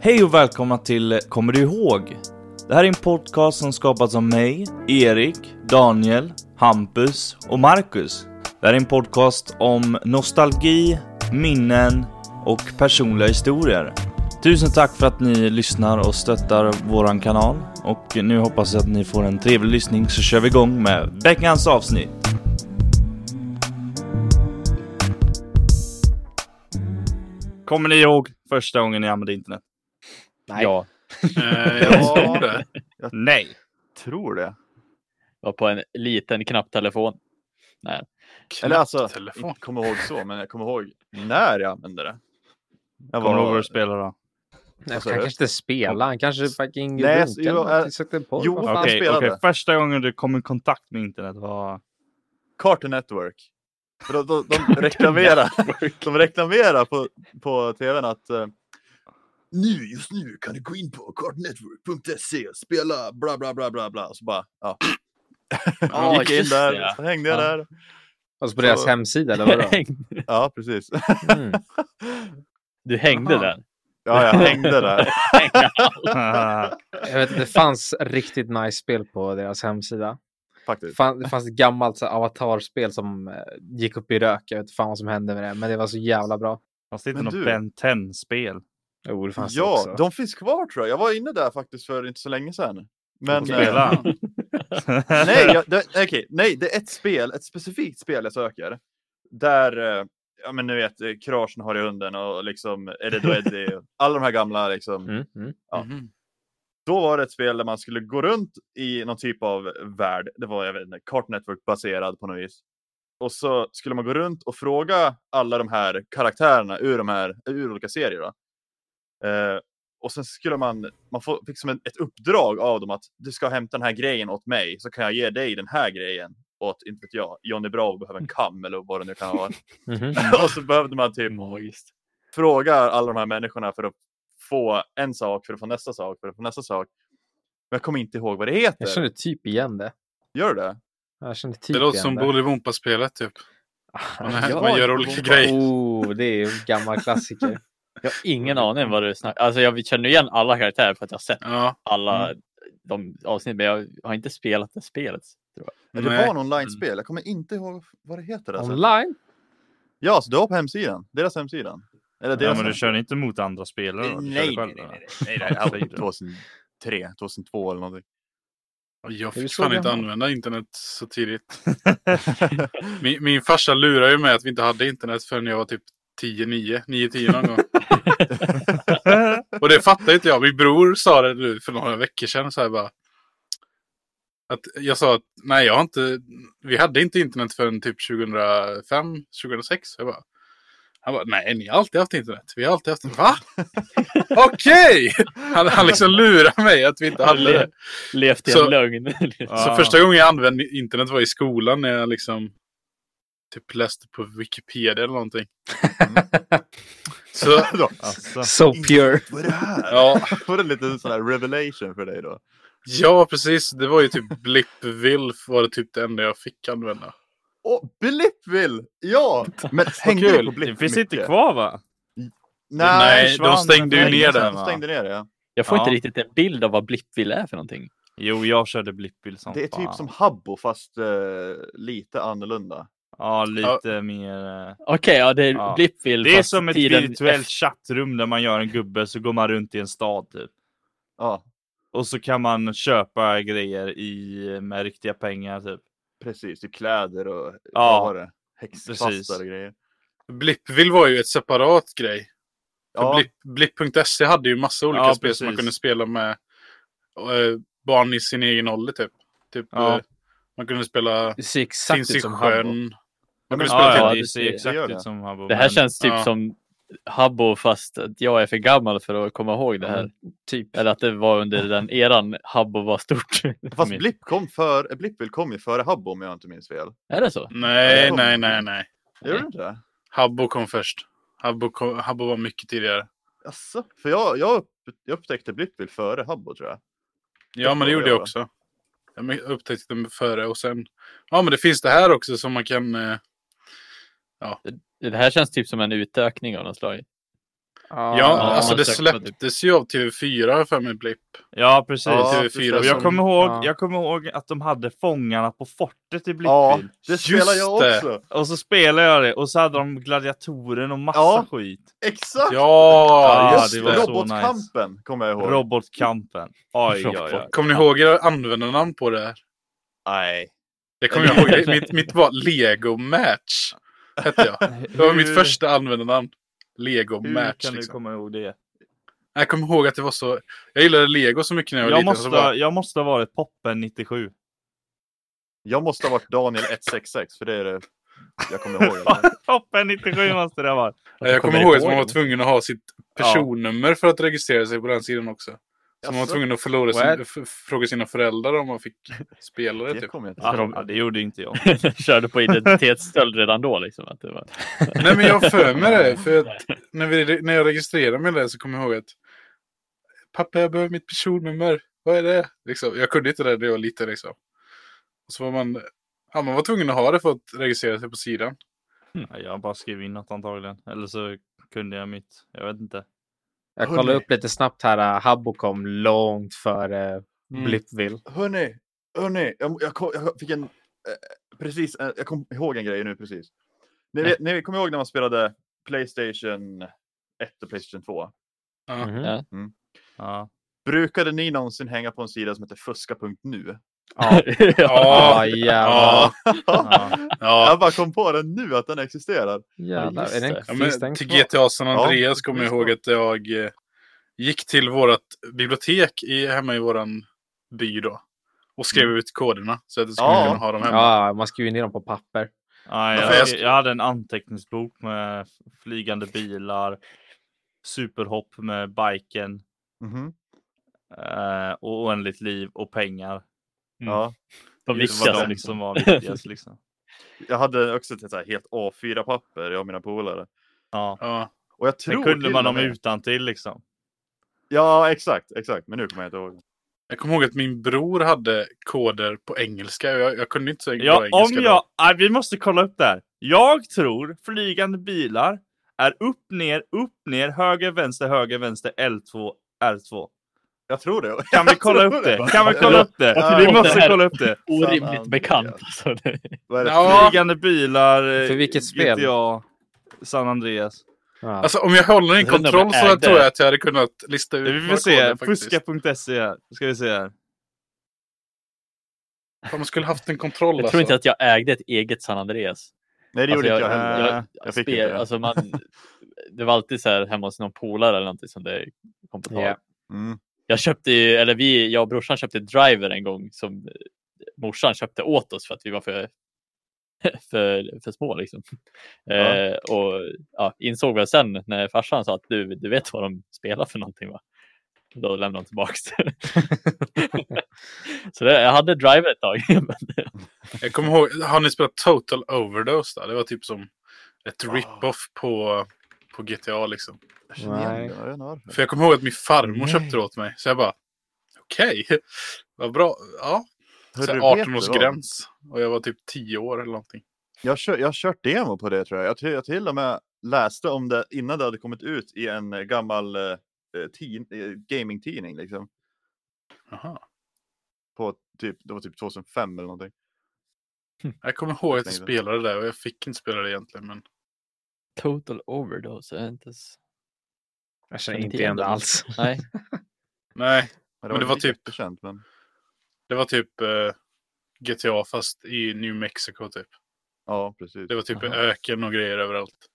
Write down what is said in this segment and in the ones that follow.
Hej och välkomna till Kommer du ihåg? Det här är en podcast som skapats av mig, Erik, Daniel, Hampus och Marcus. Det här är en podcast om nostalgi, minnen och personliga historier. Tusen tack för att ni lyssnar och stöttar våran kanal. Och nu hoppas jag att ni får en trevlig lyssning så kör vi igång med veckans avsnitt. Kommer ni ihåg första gången ni använde internet? Nej. Ja, Eh, jag tror det. Nej. Tror det. var på en liten knapptelefon. Eller alltså, Telefon. inte kommer ihåg så, men jag kommer ihåg när jag använde det. Jag Kommer du ihåg var, vad du spelade då? Nej, Alltså, han det- kanske inte spelar. Han kanske fucking Nej, Nej, alltså, runkade jo, någonting, äh, sökte på. jo, vad fan. Han Okej, spelade. okej. första gången du kom i kontakt med internet var... Cartoon Network. För de, de, de reklamerar, de reklamerar på, på tvn att eh, nu, just nu kan du gå in på cartoonnetwork.se och spela bla bla bla bla bla. Så bara, ja. Ja, Gick in just där, det. så hängde jag Ja. där. Alltså på deras så- hemsida eller vadå? Ja, precis. Mm. Du hängde Aha. där. Ja, jag hängde där. Jag vet, det fanns riktigt nice spel på deras hemsida. Det Faktiskt. fanns, det fanns ett gammalt så här, avatarspel som eh, gick upp i rök. Jag vet inte fan vad som hände med det, men det var så jävla bra. Fanns det inte Men något du- Ben 10-spel? Jo, det fanns det Ja, också. de finns kvar tror jag. Jag var inne där faktiskt för inte så länge sedan. Men, Okej. eh, Spela. Nej, jag, det, okej, nej, det är ett spel, ett specifikt spel jag söker. Där, eh, ja men nu vet, eh, Kraschen har i hunden och liksom Eddie och Eddie och alla de här gamla liksom. Mm, mm. Ja. Mhm. Då var det ett spel där man skulle gå runt i någon typ av värld. Det var, jag vet inte, Cart Network baserad på något vis. Och så skulle man gå runt och fråga alla de här karaktärerna ur, de här, ur olika serier. Då. Eh, och sen skulle man, man få, fick som ett, ett uppdrag av dem att du ska hämta den här grejen åt mig så kan jag ge dig den här grejen åt, inte vet jag, Johnny Bravo behöver en kam eller vad det nu kan vara. Mhm. och så behövde man typ Magiskt. frågar alla de här människorna för att få en sak, för att få nästa sak, för att få nästa sak. Men jag kommer inte ihåg vad det heter. Jag känner typ igen det. Gör du det? Jag känner typ Det låter som igen det. Bolibompa-spelet typ. Man, Ah, ja. man gör olika grejer. Oh, det är ju en gammal klassiker. Jag har ingen aning vad du snackar Alltså jag känner igen alla karaktärer för att jag har sett Ja, alla de avsnitt. Men jag har inte spelat det spelet. Tror Men Det Nej. var en Mm. online-spel. Jag kommer inte ihåg vad det heter. Alltså. Online? Ja, så det var på hemsidan. Deras hemsidan. Eller ja, deras men du hemsida. körde inte mot andra spelare? då? Du nej, körde själv, nej, nej, nej, eller? nej, nej, nej, nej. 2003, 2002 eller någonting. jag, jag det fick så fan vi inte har- använda internet så tidigt. Min, min farsa lurade ju med att vi inte hade internet förrän jag var typ 10-9, 9-10 någon gång. Och det fattar inte jag. Min bror sa det nu för några veckor sedan. Så här bara, att jag sa att nej, jag har inte, vi hade inte internet förrän typ 2005, 2006. Jag bara, han bara, nej, ni har alltid haft internet. Vi har alltid haft Va? Okej! Han, han liksom lurar mig att vi inte jag. hade det. Le, levt i en Så- lögn. Så första gången jag använde internet var i skolan när jag liksom typ läste på Wikipedia eller någonting. Så Då, Alltså, So pure. Vad är det här? ja, Var det en liten sån här revelation för dig då? ja precis. Det var ju typ Blippville var det typ det enda jag fick använda. Åh, Blippville! Ja! Men hängde du kul. på Blipp det finns inte mycket? kvar va? Nej, de försvann stängde för ju länge ner sedan, den, de va? stängde ner det. Ja. Jag får Ja. inte riktigt en bild av vad Blippville är för någonting. Jo, jag körde Blippbil som Det är typ fan. som Habbo fast eh, lite annorlunda. Ja, lite mer... eh, Okej, ja det är Ja. Blippville. Det är fast som ett tiden virtuellt chattrum där man gör en gubbe så går man runt i en stad typ. Ja, Och så kan man köpa grejer i, eh, med riktiga pengar typ. precis. Typ kläder och Ja, vad var det? precis. häxkvastar och grejer. Blippville var ju ett separat grej. För Ja, Blipp- Blipp.se hade ju massa olika Ja, spel som man precis. kunde spela med eh, barn i sin egen ålder typ. typ Ja. eh, man kunde spela Det ser exakt Finns i ut som Habbo. sjön. men- typ- Man kunde Ja, spela ja, till- det ser det- exakt det gör ut det. som Habbo. Det här men- känns typ ja. som Habbo fast att jag är för gammal för att komma ihåg det här. Mm, Typ. Eller att det var under den eran Habbo var stort. fast Blipp kom för, eh, Blippville kom ju före Habbo om jag inte minns fel. Är det så? Nej, Ja. nej, nej, nej. Gjorde det inte det? Habbo kom först. Habbo, kom, Habbo var mycket tidigare. Jaså? För jag, jag, upp, jag upptäckte Blippville före Habbo tror jag. Ja, men det gjorde jag också. Jag upptäckte den före och sen... Ja, men det finns det här också som man kan... eh, Det här känns typ som en utökning av något slag. Ah, Ja, alltså det man sökte på släpptes ju av TV4 har jag för mig blipp. Ja, precis. Ja, det TV4 och jag, som- kommer ihåg, ja. jag kommer ihåg att de hade Fångarna på fortet i blickfilm. Ja, det spelar Just jag det. också. Och så spelade jag det och så hade de Gladiatoren och massa Ja. skit. Exakt! Ja, Ja, just det det. var så Robotkampen kommer jag ihåg. Robotkampen. Oj, oj, oj. Robot. Kommer ni ihåg era användarnamn på det? här? Nej. Det kommer jag ihåg. Det- Mitt, mitt var Lego Match. Hette jag. Det var mitt Hur- första användarnamn. Lego Hur Match. kan du Liksom. komma ihåg det? Jag kommer ihåg att det var så. Jag gillade Lego så mycket när jag var Jag liten. måste, Så bara, jag måste ha varit Poppen 97. Jag måste ha varit Daniel 166 för det är det jag kommer ihåg. det. Poppen 97 måste det ha varit. Att du jag kommer ihåg att ihåg man var det. tvungen att ha sitt personnummer för att registrera sig på den sidan också. Så man var Jaså? tvungen att förlora sin, f- fråga sina föräldrar om man fick spela det. Det Typ. kommer jag inte ihåg. Ja, Ah, det gjorde inte jag. Körde på identitetsstöld redan då liksom. Att det var... Nej men jag har för mig det. För att när, vi, när jag registrerade mig där så kommer jag ihåg att pappa jag behöver mitt personnummer. Vad är det? Liksom, jag kunde inte det när jag var liten liksom. Och så var man, ja, man var tvungen att ha det för att registrera sig på sidan. Ja, Jag bara skrev in något antagligen. Eller så kunde jag mitt. Jag vet inte. Jag Hörni. kollar upp lite snabbt här. äh, Habbo kom långt före äh, Mm. Blippville. Hörni, hörni, jag, jag, kom- jag fick en... Eh, precis, eh, jag kom ihåg en grej nu precis. Ni, vet, ni kommer ihåg när man spelade Playstation 1 och Playstation 2? Ja. Mhm. Ja. Ja. Brukade ni någonsin hänga på en sida som heter fuska.nu? Ja. Ja. Ja, jävlar. Ja, Ja. ja. Jag bara kom på den nu att den existerar. jävlar. just Är det. den Ja, finns den men till kvar? GTA San Andreas Ja, kommer jag visst ihåg var. att jag eh, gick till vårt bibliotek i, hemma i våran by då. Och skrev ut koderna så att jag skulle Mm. Ja. kunna ha dem hemma. Ja, man skriver ner dem på papper. Ja, Ja, för jag, jag jag hade en anteckningsbok med flygande bilar, superhopp med biken Mhm. eh, och oändligt liv och pengar. Ja. Det De var viktigaste de liksom. som var viktigast liksom. Jag hade också ett så här helt A4-papper, jag och mina polare. Ja. Ja. Och jag Sen tror kunde till man och dem med- utan till liksom. Ja, exakt, exakt. Men nu kommer jag inte ihåg. Jag kommer ihåg att min bror hade koder på engelska. och Jag, jag kunde inte så bra Ja, om engelska. då. jag... Nej, vi måste kolla upp det här. Jag tror flygande bilar är upp, ner, upp, ner, höger, vänster, höger, vänster, L2, R2 Jag tror det. Kan vi kolla Jag tror upp det? Kan vi kolla upp det? Ja. Vi måste kolla upp det. Orimligt San bekant. Andreas. Alltså, det... Vad är det? Ja. Flygande bilar, eh, För vilket spel? GTA, San Andreas. Ja. Alltså om jag håller i en Jag undrar om kontroll jag så ägde tror det. jag att jag hade kunnat lista ut Vi några får se, koder faktiskt. fuska.se E här. Ska vi se här. Om man skulle haft en kontroll Jag tror alltså. inte att jag ägde ett eget San Andreas. Nej, det gjorde Alltså, inte jag heller. jag- jag fick spel, inte det. Alltså, man, det var alltid så här hemma hos någon polare eller någonting som det kom på tal. Ja. Mm. Jag köpte ju, eller vi, jag och brorsan köpte Driver en gång som eh, morsan köpte åt oss för att vi var för, för, för små liksom. Ja. Eh, och ja, insåg väl sen när farsan sa att du, du vet vad de spelar för någonting va? Då lämnade de tillbaks det. Så det, jag hade Driver ett tag. men Jag kommer ihåg, har ni spelat Total Overdose? Där? Det var typ som ett Ah. rip-off på, på GTA liksom. Jag känner igen Nej. det, jag vet inte varför. För jag kommer ihåg att min farmor Nej. köpte det åt mig. Så jag bara, okej, vad bra. Ja, Hörru, så här vet du vad? 18-årsgräns. Och jag var typ 10 år eller någonting. Jag har kört, jag har kört demo på det tror jag. Jag, till, jag till och med läste om det innan det hade kommit ut i en eh, gammal eh, teen, eh, gamingtidning liksom. Jaha. På typ, det var typ 2005 eller någonting. Jag kommer ihåg att jag Tänkte. spelade det där och jag fick inte spela det egentligen. Men Total overdose. jag har inte ens- Jag känner inte igen det alls. Nej. nej, Men Men det var inte typ- jättekänt, men... det var typ eh, GTA fast i New Mexico typ. Ja, precis. Det var typ Jaha. öken och grejer överallt.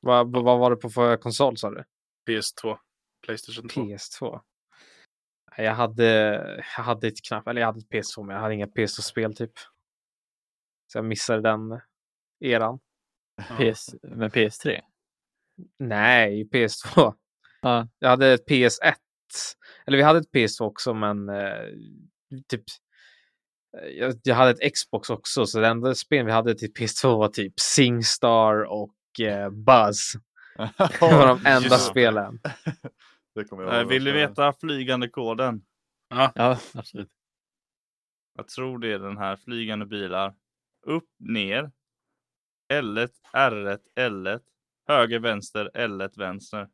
Vad, vad var det på för konsol sa du? PS2, Playstation 2. PS2. Jag hade, jag hade ett knapp, eller jag hade ett PS2 men jag hade inga PS2-spel typ. Så jag missade den eran. Ja. PS, men PS3? Nej, PS2. Ja. Jag hade ett PS1. Eller vi hade ett PS2 också men eh, typ eh, jag, jag hade ett Xbox också så det enda spel vi hade till PS2 var typ Singstar och eh, Buzz. Det var de enda just det. spelen. det kommer jag Eh, ihåg. Vill du veta flygande koden? Ja, absolut. Jag tror det är den här. Flygande bilar. Upp, ner. L1, R1, L1. Höger, vänster, L1, vänster.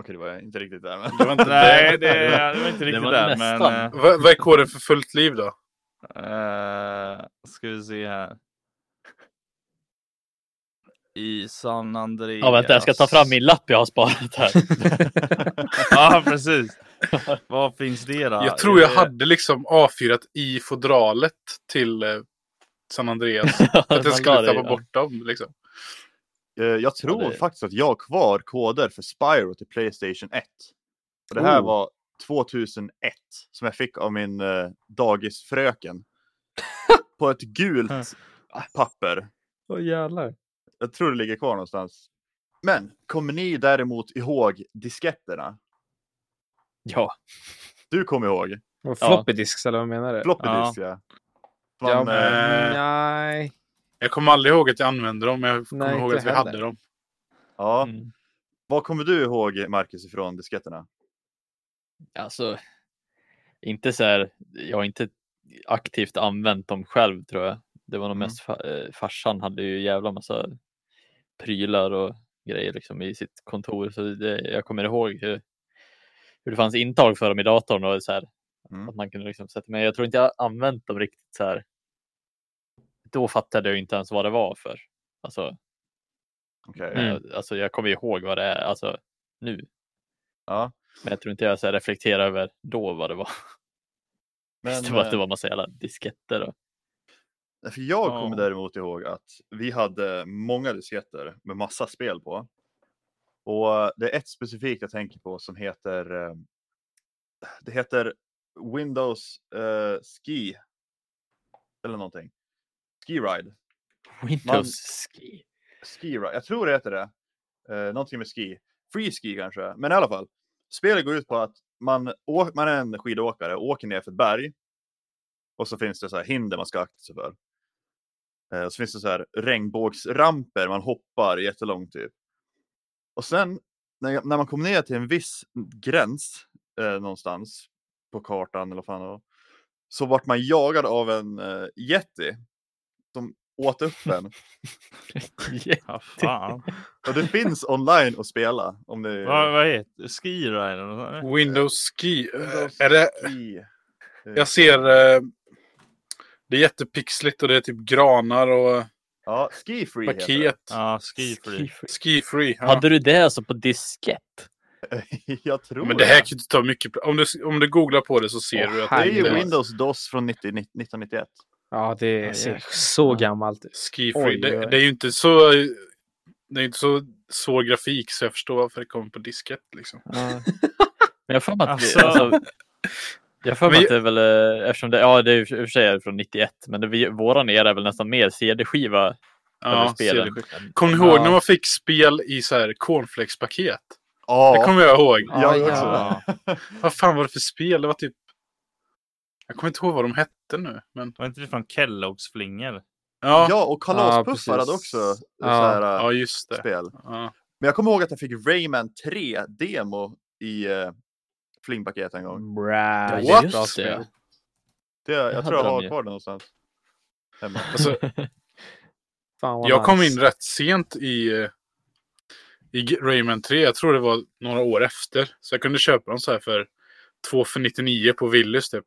Okej, det var jag inte riktigt där. Men... Det var inte Nej, det, det. det var inte riktigt var där, nästan. men... eh, Va- Vad är koden för fullt liv då? Eh, ska vi se här. I San Andreas. Ja, vänta, jag ska ta fram min lapp jag har sparat här. Ja, precis. Vad finns det då? Eh, jag tror jag Är det- hade liksom A4 i fodralet till eh, San Andreas. Att jag skulle tappa bort dem liksom. Eh, Jag tror det- faktiskt att jag har kvar koder för Spyro till Playstation 1. Och det här Oh. var 2001 som jag fick av min eh, dagisfröken. på ett gult papper. Åh jävlar. Jag tror det ligger kvar någonstans. Men kommer ni däremot ihåg disketterna? Ja, Du kommer ihåg? Och Ja. floppy disks eller vad menar du? Floppy Ja. disk ja. Ja, Man, eh, men, eh, nej. Jag kommer aldrig ihåg att jag använde dem, men jag kommer Nej, ihåg inte att vi heller. hade dem. ja. Mm. Vad kommer du ihåg Marcus ifrån disketterna? alltså. Inte så här. Jag har inte aktivt använt dem själv tror jag. Det var nog Mm. mest fa- eh, farsan hade ju jävla massa prylar och grejer liksom i sitt kontor. Så det, jag kommer ihåg hur, hur det fanns intag för dem i datorn och så här. Mm. Att man kunde liksom sätta, men jag tror inte jag har använt dem riktigt så här. Då fattade jag ju inte ens vad det var för. Alltså, Okej. jag, alltså jag kommer ihåg vad det är alltså, nu. Ja. Men jag tror inte jag så här reflekterar över då vad det var. Men, eh, det var att eh, det var massa jävla disketter. Och... För jag Ja. kommer däremot ihåg att vi hade många disketter med massa spel på. Och det är ett specifikt jag tänker på som heter eh, Det heter Windows eh, Ski. Eller någonting. Ski Ride. Windows Ski. Ski Ride. Jag tror det heter det. Eh, någonting med ski. Free Ski kanske. Men i alla fall. Spelet går ut på att man, å- man är en skidåkare och åker ner för ett berg. Och så finns det så här hinder man ska akta sig för. Eh, och så finns det så här regnbågsramper man hoppar jättelångt typ. Och sen när, jag- när man kom ner till en viss gräns eh, någonstans på kartan eller vad fan det var, så vart man jagad av en eh, yeti som åt upp en. Yeah. Ja, fan. Och det finns online att spela. Om ni... vad, vad heter det? Ski Rider? eller nåt sånt där? Windows Ski. eh, Windows Är det, I... eh, jag ser... eh, Det är jättepixligt och det är typ granar och Ja, Ski Free heter paket. Ja, Ski Free. Ski-free. Ja. Hade du det alltså på diskett? det. Jag tror Men det här kan ju inte ta mycket pl- om du, om du googlar på det så ser Åh, du att det är ju Herregud. Windows DOS från 90, 1991. Ja, det ser jäklar. så gammalt ut. Ski-free. Oj, Det, oj. det är ju inte så... Det är inte så svår grafik så jag förstår varför det kommer på disket. Liksom. Men jag har för mig att, Alltså. det, alltså, jag har för mig Men- att det är väl, eh, eftersom det, ja det är ju i och för sig är det från 91, men det, vi- våran era är väl nästan mer CD-skiva över Ja, spelen. CD-skiva. Kommer ni ihåg Ja. när man fick spel i så här cornflakes-paket? Ja, Det kommer jag ihåg. Ja, jag också. jävlar. Ja. Vad fan var det för spel? Det var typ... Jag kommer inte ihåg vad de hette nu. Men... Var inte det från Kelloggs flingor? Ja, ja. Ja, och Ja, Kalaspuffar hade precis. också Ja. så här, eh, just det. spel. Ja. Men jag kommer ihåg att jag fick Rayman 3-demo i eh, flingpaket en gång. Bra, Ja, jättebra just det. spel. Det, jag hade tror jag de har ju. kvar det någonstans. Hemma. Alltså, Fan, vad jag kom nice. in rätt sent i, eh, i G- Rayman 3. Jag tror det var några år efter. Så jag kunde köpa dem så här för 2 för 99 på Willys typ.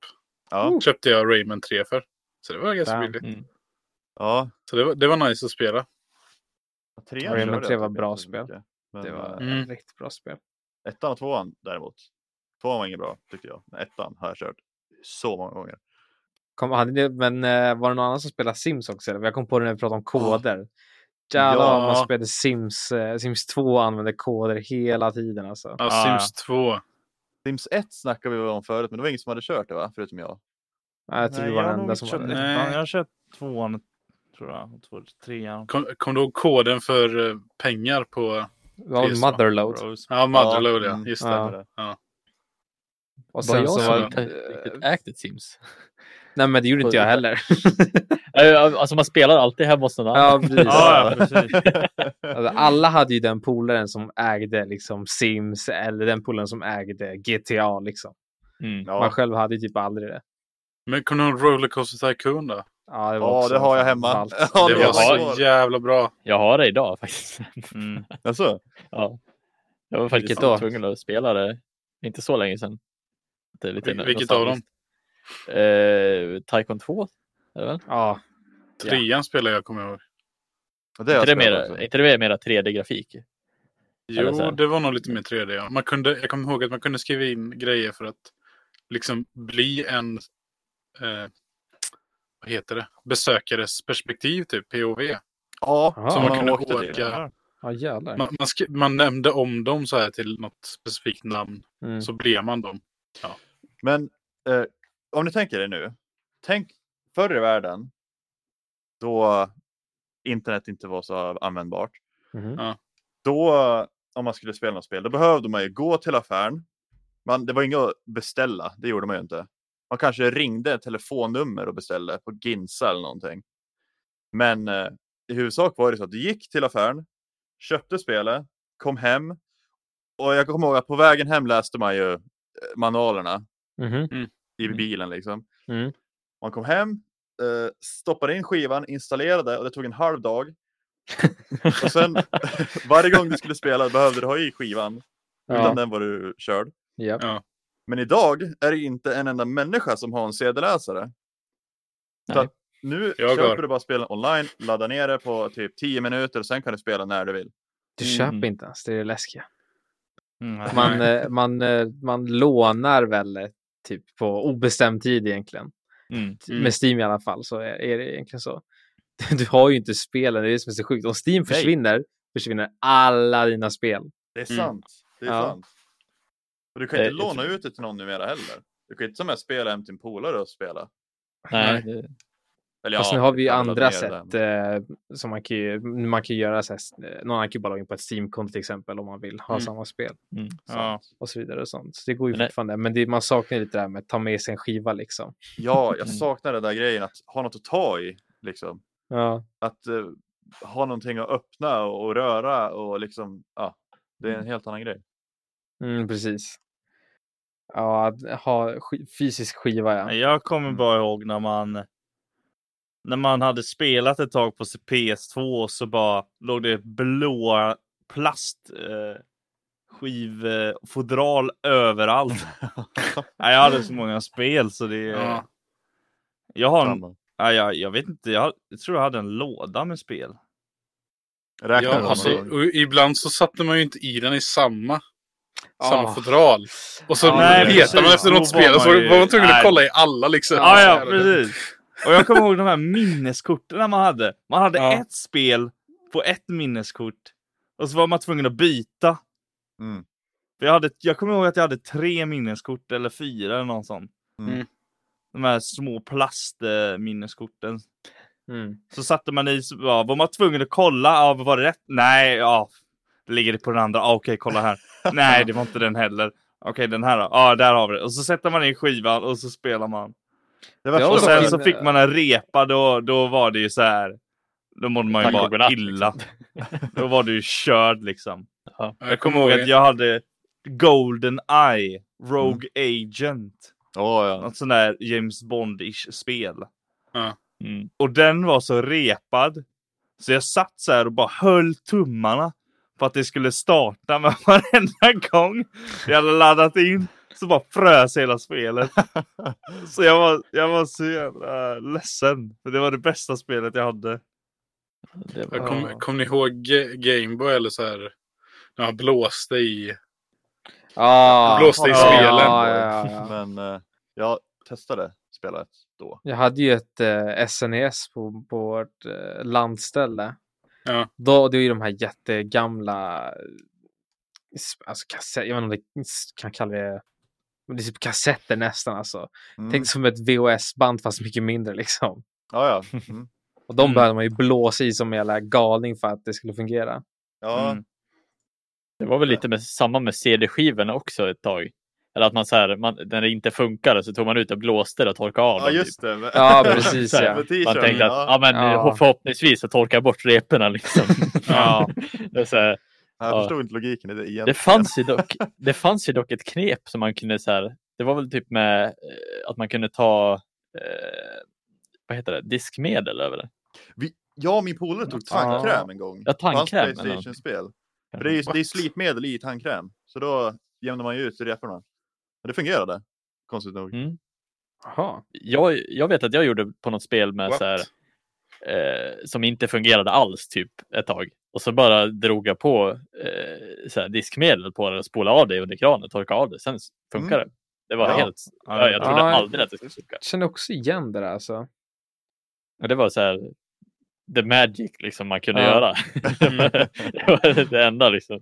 Ja, Köpte jag Rayman 3 för. Så det var ganska Damn. billigt. Mm. ja. Så det var, det var nice att spela. Trean Rayman körde jag 3 var typ bra inte så spel. mycket. Men, Det var eh, Mm. ett riktigt bra spel. Ettan och tvåan däremot. Tvåan var inget bra tyckte jag. Men ettan har jag kört så många gånger. Kom, hade ni, men eh, var det någon annan som spelade Sims också? Eller? Jag kom på det när vi pratade om koder. Jävlar vad man Ja. spelade Sims, eh, Sims 2 och använde koder hela tiden alltså. Ja, Ah, Sims 2. Sims 1 snackade vi väl om förut, men det var ingen som hade kört det va? Förutom jag. Ja, jag tror Nej, det var har den nog enda inte som köpt var det. det. ettan. Nej. Jag har köpt tvåan, tror jag. och Två, trean. Kom, kom du ihåg koden för eh, pengar på... Det var Just det. Motherload. Rose. Ja, Motherload ja. mm. Just det. Ja. Och Bara sen jag så som var Eh, det- inte riktigt ägt ett Sims. Nej men det gjorde inte jag heller. Eh, Alltså man spelar alltid hemma hos någon ja, annan. precis. Ja, ja, precis. Alltså, alla hade ju den polaren som ägde liksom Sims eller den polaren som ägde GTA liksom. Man Mm. Ja, själv hade ju typ aldrig det. Men kommer du ihåg Rollercoaster Tycoon då? Ja, det, Ja, också liksom, det har jag hemma. ballt. Ja, Det det var var så jävla bra. Jag har det idag faktiskt. Mm. Alltså, ja. Jag var faktiskt Vilket då? tvungen att spela det inte så länge sedan. Det är lite Vil- vilket av dem? Eh, Taikon 2? Är det väl? Ja, Trean spelade jag kommer jag ihåg. det har Inte det jag spelat mera, också. inte det är mera 3D-grafik? Eller så Jo, här. det var nog lite mer 3D. Ja. Man kunde, jag kommer ihåg att man kunde skriva in grejer för att liksom bli en eh, vad heter det? besökares perspektiv, typ POV. Ja, Aha. som Ja, man kunde åkte åka. till. Ja. ja jävlar. Man, man, sk- man nämnde om dem så här till något specifikt namn, Mm. så blev man dem. Men eh, om ni tänker er nu. Tänk förr i världen. Då internet inte var så användbart. Mhm. Då, om man skulle spela något spel, då behövde man ju gå till affären. Man, det var inget att beställa, det gjorde man ju inte. Man kanske ringde ett telefonnummer och beställde på Ginsa eller någonting. Men eh, i huvudsak var det så att du gick till affären, köpte spelet, kom hem. Och jag kommer ihåg att på vägen hem läste man ju eh, manualerna Mhm. i Mm. bilen liksom. Mm. Man kom hem, eh, stoppade in skivan, installerade och det tog en halv dag. och sen varje gång du skulle spela behövde du ha i skivan. Utan Ja, den var du körd. japp. Men idag är det inte en enda människa som har en CD-läsare. Så Nej. att nu Jag köper har. du bara spelen online, laddar ner det på typ 10 minuter och sen kan du spela när du vill. Du Mm. köper inte ens, det är det läskiga. Mm. Man, eh, man, eh, man lånar väl eh, typ på obestämd tid egentligen. Mm. Mm. Med Steam i alla fall så är, är det egentligen så. Du har ju inte spelen, det är det som är så sjukt. Om Steam försvinner, försvinner alla dina spel. Det är Mm. sant. Det är Ja. sant. Och du kan inte Eh, jag låna tror- ut det till någon numera heller. Du kan inte som jag spela hem till en polare och spela. Nej, det, Eller Fast ja, nu har du vi ju kan ladda andra ner den. sätt eh, som man kan ju, man kan ju göra så här, s- eh, någon annan kan ju bara gå in på ett Steam-konto till exempel om man vill ha Mm. samma spel Ja. och så vidare och sånt. Så det går ju Men det- fortfarande, men det, man saknar ju lite det här med att ta med sig en skiva liksom. Ja, jag Mm. saknar den där grejen att ha något att ta i. Liksom. Ja, Att eh, ha någonting att öppna och, och röra och liksom, ja. Det är en helt annan grej. mm, precis. Ja, att ha sk- fysisk skiva ja. Jag kommer bara ihåg när man när man hade spelat ett tag på PS2 så bara låg det blåa plast eh, skivfodral överallt. Nej, jag hade så många spel så det... Ja. Jag har en... Samma. Nej, jag, jag vet inte, jag, har- jag tror jag hade en låda med spel. Räknar Ja, du alltså, någon gång? och ibland så satte man ju inte i den i samma, samma Ah. fodral. Och så Ja, letade precis. man efter Då något spel var och så man ju- var man tvungen Nej. att kolla i alla liksom. Ja, ja, precis. Och jag kommer ihåg de här minneskorten man hade. Man hade Ja. ett spel på ett minneskort och så var man tvungen att byta. Mm. För jag, hade, jag kommer ihåg att jag hade tre minneskort eller fyra eller någon sån. Mm. De här små plastminneskorten. Mm. Så satte man i, så ja, var man tvungen att kolla, ja, var det rätt? Nej, ja. Det ligger det på den andra, ja, okej kolla här. Nej, det var inte den heller. Okej, den här då? Ja, där har vi det. Och så sätter man in skivan och så spelar man. Det värsta Ja, Och var sen väl- så fick man en repa, då, då var det ju så här. Då mådde man ju Tack bara och godnatt, illa. Då var du ju körd liksom. Jag Kommer ihåg att jag hade Golden Eye, Rogue Mm. Agent. Åh, ja. Något sånt där James Bond-ish spel. mm. Och den var så repad. Så jag satt så här och bara höll tummarna på att det skulle starta. Men varenda gång jag hade laddat in så bara frös hela spelet. Så jag var, jag var så jävla ledsen. För det var det bästa spelet jag hade. det var... Jag kom, Ja. kom ni ihåg Ga- Gameboy eller så här? När han blåste i. Ah, blåste i ja, spelen. Ja, ja, ja. Men eh, jag testade spelet då. Jag hade ju ett eh, SNES på, på vårt eh, landställe. Ja. Då, det är ju de här jättegamla, eh, sp- alltså kassett, jag vet inte om det s- kan kalla det, men det är typ kassetter nästan alltså. Mm. Tänk som ett VHS-band fast mycket mindre liksom. Ja, ja. Mm. Och de Mm. behövde man ju blåsa i som en jävla galning för att det skulle fungera. ja. Mm. Det var väl lite med, samma med CD-skivorna också ett tag. Eller att man så här, man, när det inte funkade så tog man ut och blåste det och torkade av ja, dem, just det. Men- Ja, precis, Så här, ja. med Typ. Man t-shirten, tänkte att ja, ja. men, Ja. eh, förhoppningsvis så torkar jag bort reporna liksom. Ja. det, är så här, Jag ja. förstod inte logiken i det egentligen. det, fanns ju dock, det fanns ju dock ett knep som man kunde så här. Det var väl typ med eh, att man kunde ta eh, vad heter det, diskmedel över det. Jag och min polare tog Ja. tandkräm en gång. Ja, på hans tandkräm eller Playstation-spel. För det är, ju- det är slipmedel i tandkräm. Så då jämnar man ju ut reporna. Men det fungerade. Konstigt nog. Mm. Jaha. Jag, jag vet att jag gjorde på något spel med What? så här, eh, som inte fungerade alls typ ett tag. Och så bara drog jag på eh, så här, diskmedel på det och spolade av det under kranen, torkade av det. Sen s- funkar det. Det var Ja. helt... Ja, jag trodde Ja. aldrig att det skulle funka. Känner också igen det där alltså. Och det var så här the magic liksom man kunde Ja. göra. Mm, det var det enda liksom.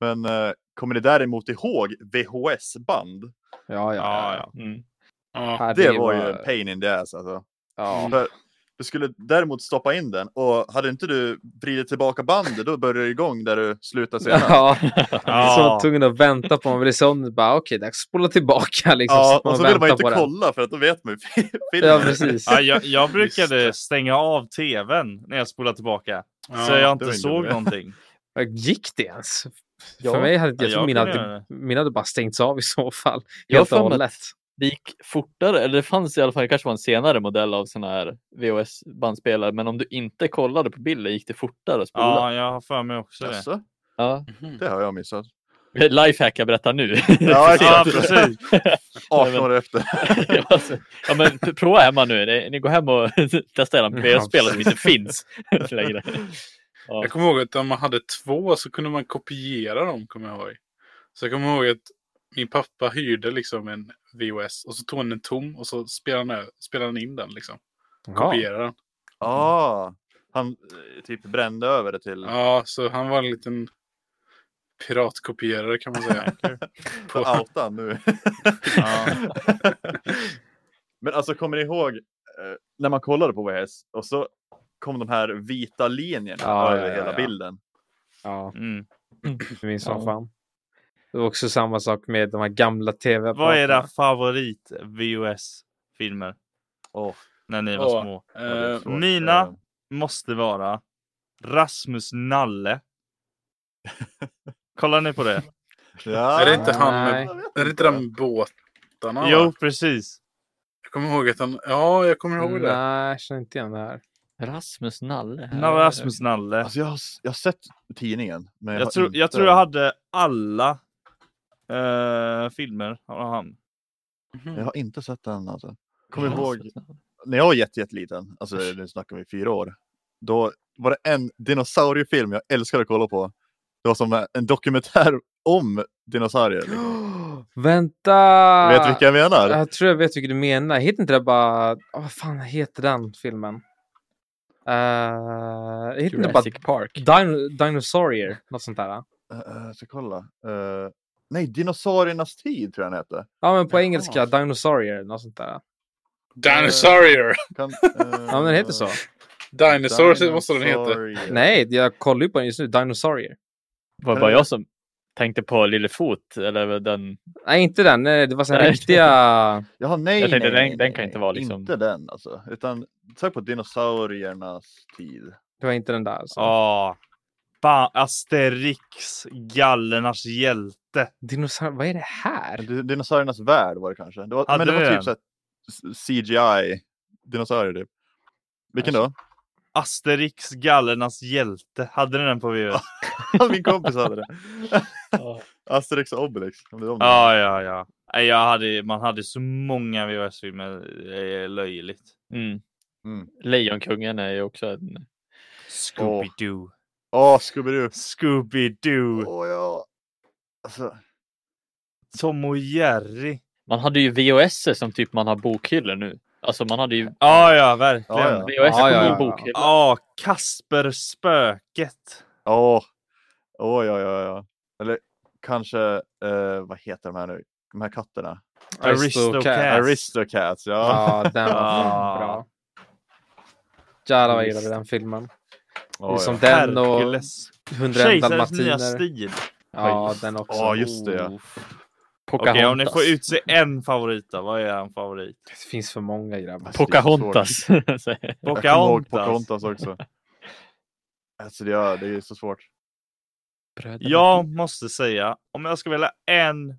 Men eh, kommer ni däremot ihåg VHS-band? Ja, ja. Ja, ja. Mm. Ja. Ja, Det var ju en pain in the ass alltså. Ja. För du skulle däremot stoppa in den och hade inte du vridit tillbaka bandet då började det igång där du slutade senare. Ja, Ja. så var man tvungen att vänta på horisonten. Bara okej, dags att spola tillbaka. Liksom, så Ja, att och så vill man väntar ju inte på den. kolla för att då vet man ju filmen. Ja, precis. Ja, jag, jag Just brukade det. stänga av tvn när jag spolade tillbaka. Ja. så jag det inte var inte såg bra. någonting. Gick det ens? Ja. För mig hade Ja, jag, jag tror mina, kunde göra hade, mina hade bara stängts av i så fall. Jag Helt har och för mig hållet. det gick fortare, eller det fanns i alla fall, det kanske var en senare modell av sådana här VHS-bandspelare, men om du inte kollade på bilden gick det fortare att spola. Ja, jag har för mig också det. Jaså, Ja. Mhm. det har jag missat. Lifehack jag berättar nu. Ja, Ja, exakt. precis. 18 år efter. ja, alltså, ja, men prova hemma nu. Ni, ni går hem och testar era VHS-spelare som inte finns längre. Ja. Jag kommer ihåg att om man hade två så kunde man kopiera dem, kommer jag ihåg. Så jag kommer ihåg att min pappa hyrde liksom en VHS och så tog han en tom och så spelade han, ö- spelade han in den liksom. Ja. Kopierade den. Ja, han eh, typ brände över det till Ja, så han var en liten piratkopierare kan man säga. på outan nu. Ja. Men alltså kommer ni ihåg eh, när man kollade på VHS och så kom de här vita linjerna Ja, över ja, ja, hela ja. bilden. ja, Mm. det minns Ja. som fan. Det var också samma sak med de här gamla tv Vad är era favorit VHS-filmer Åh, när ni var Åh, små? vad det är Eh, svårt. Mina- Eh, Måste vara Rasmus Nalle. Kollar ni på det? Ja. Är det inte han med- Nej. Jag vet är det inte den med båtarna? Jo, va? precis. Jag kommer ihåg att han... Ja, jag kommer ihåg det. Nej, jag känner inte igen det här. Rasmus Nalle. Na- Rasmus Nalle. Alltså jag, har, s- jag har sett tidningen. Men jag, Jag, har tror, inte... jag tror jag hade alla eh, filmer av han. Mhm. jag har inte sett den alltså. Kommer Rasmus ihåg Nalle. när jag var jätte, jätteliten, alltså nu snackar vi fyra år. Då var det en dinosauriefilm jag älskade att kolla på. Det var som en dokumentär om dinosaurier. Liksom. Vänta! Vet du vilka jag menar? Jag tror jag vet vilken du menar. Heter inte det bara... ah, vad fan heter den filmen? Uh, heter inte det bara Jurassic Park. Dino, Dinosaurier? Något sånt där. ah? Uh, jag ska kolla. Eh, nej, Dinosauriernas tid tror jag den hette. Ja, men på Jaha. engelska. Dinosaurier. Något sånt där. ah. Dinosaurier! Kan, eh, Ja, men den heter så. Dinosaurs måste den heta. Dinosaurier. Nej, jag kollar ju på den just nu. Dinosaurier. Var det bara jag som tänkte på Lillefot? Eller den... Nej, inte den. Nej, det var så här Nej. riktiga... Jaha, nej, Jag tänkte, nej, den- nej, den nej, kan nej. inte vara liksom- Inte den alltså. Utan sök på Dinosauriernas tid. Det var inte den där. Alltså. Ja. Fan, Asterix, gallernas hjälte. Dinosaurier. Vad är det här? Eller Dinosauriernas värld var det kanske. Det var, Hade men det du var den? typ så här CGI. Dinosaurier typ. Vilken då? Alltså. Asterix, gallernas hjälte. Hade ni den på VHS? Min kompis hade det. Asterix och Obelix. om det är de där. Ja, ja, ja. Nej, Jag hade, man hade så många VHS-filmer. Det är eh, löjligt. Mm. Mm. Lejonkungen är ju också en... Scooby-Doo. Åh, Scooby-Doo. Scooby-Doo. Åh ja. Alltså, Tom och Jerry. Man hade ju VHS som typ man har bokhyllor nu. Alltså man hade ju Ja, ja, verkligen. Ja, Ja, ja. VHS Ja, ja, ja, kom ja, ju ja. i bokhyllor. Kasper Spöket. Åh, åh ja, ja, ja. Eller kanske, eh, vad heter de här nu? De här katterna? Cats. Aristocats, ja. Ja, den var fan Ja. bra. Jävlar vad jag gillade den filmen. Åh, det är som ja. Den och Hercules. 101 Kejsarens nya dalmatiner. stil. Ja, den också. Ja, just det, ja. Okej, Pocahontas. om ni får utse en favorit då, vad är en favorit? Det finns för många grabbar. Alltså, det är svårt. Pocahontas. Jag kommer ihåg Pocahontas. Pocahontas också. Alltså det är, det är så svårt. Jag måste säga, om jag ska välja en Mm.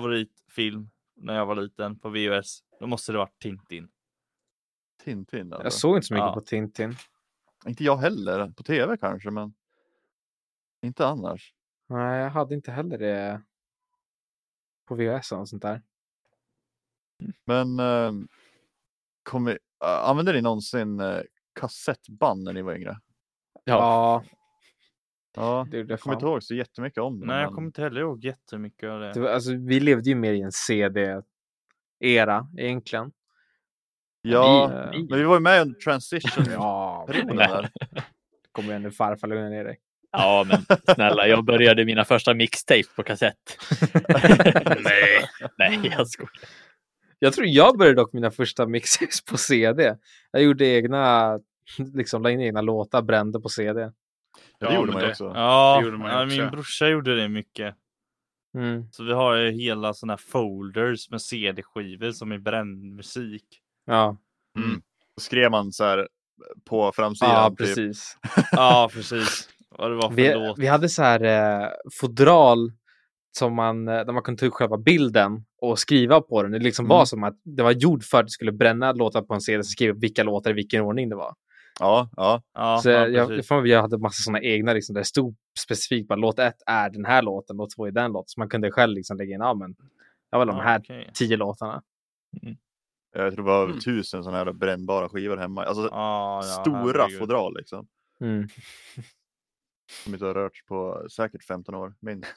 favoritfilm när jag var liten på VHS, då måste det vara Tintin. Tintin. Alltså. Jag såg inte så mycket Ja. på Tintin. Inte jag heller. På tv kanske, men inte annars. Nej, jag hade inte heller det på VHS och sånt där. Men eh, kommer, eh, använde ni någonsin eh, kassettband när ni var yngre? Ja, Ja, det gjorde jag kommer fan. inte ihåg så jättemycket om det. Nej, jag men- kommer inte heller ihåg jättemycket av Det det. var, alltså, vi levde ju mer i en CD-era egentligen. Ja, Vi- vi- men vi var ju med under transition. Ja, perioden Nej. där. kommer igen nu farfar, lugna ner dig. ja, men snälla, jag började mina första mixtape på kassett. nej, nej, jag skojar. Jag tror jag började dock mina första mixes på CD. Jag gjorde egna, liksom la in egna låtar, brände på CD. Ja, det Ja, gjorde men man ju det- också. Ja, Det gjorde man ju ja, också. min brorsa gjorde det mycket. Mm. Så vi har ju hela sådana här folders med CD-skivor som är bränd musik. Ja, Mm. Då skrev man så här eh, på framsidan. ja typ. precis. Ja, precis. Vad det var för Vi, låt. vi hade så här eh, fodral som man, eh, där man kunde ta upp själva bilden och skriva på den. Det liksom Mm. var som att det var gjord för att du skulle bränna låtar på en CD och skriva vilka låtar i vilken ordning det var. Ja, ja. Ja, så ja, jag, jag, precis. för mig, jag hade massa såna egna, liksom, där det stod specifikt bara låt ett är den här låten, låt två är den låten. Så man kunde själv liksom lägga in, ja men, jag vill ha de Ja, här okej. tio låtarna. Jag tror det var över Mm. tusen sådana här brännbara skivor hemma. Alltså Ja, ja, stora herregud. fodral liksom. Mm. Som inte har rörts på säkert 15 år, minst.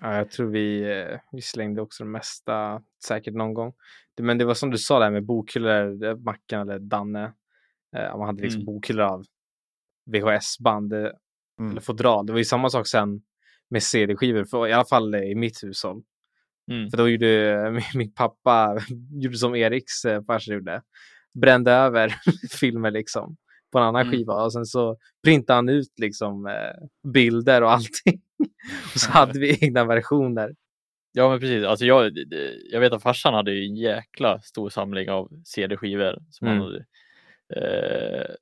Ja, jag tror vi, eh, vi slängde också det mesta, säkert någon gång. Det- Men det var som du sa där med bokhyllor, eh, Mackan eller Danne. Eh, man hade liksom Mm. bokhyllor av VHS-band eh, Mm. eller fodral. Det var ju samma sak sen med CD-skivor, för, i alla fall eh, i mitt hushåll. Mm. För då gjorde eh, min, min pappa, gjorde som Eriks eh, farsa gjorde, brände över filmer liksom på en annan Mm. skiva och sen så printade han ut liksom eh, bilder och allting. och så hade vi egna versioner. Ja, men precis. Alltså, jag, det- det- jag vet att farsan hade ju en jäkla stor samling av CD-skivor som, han hade, eh,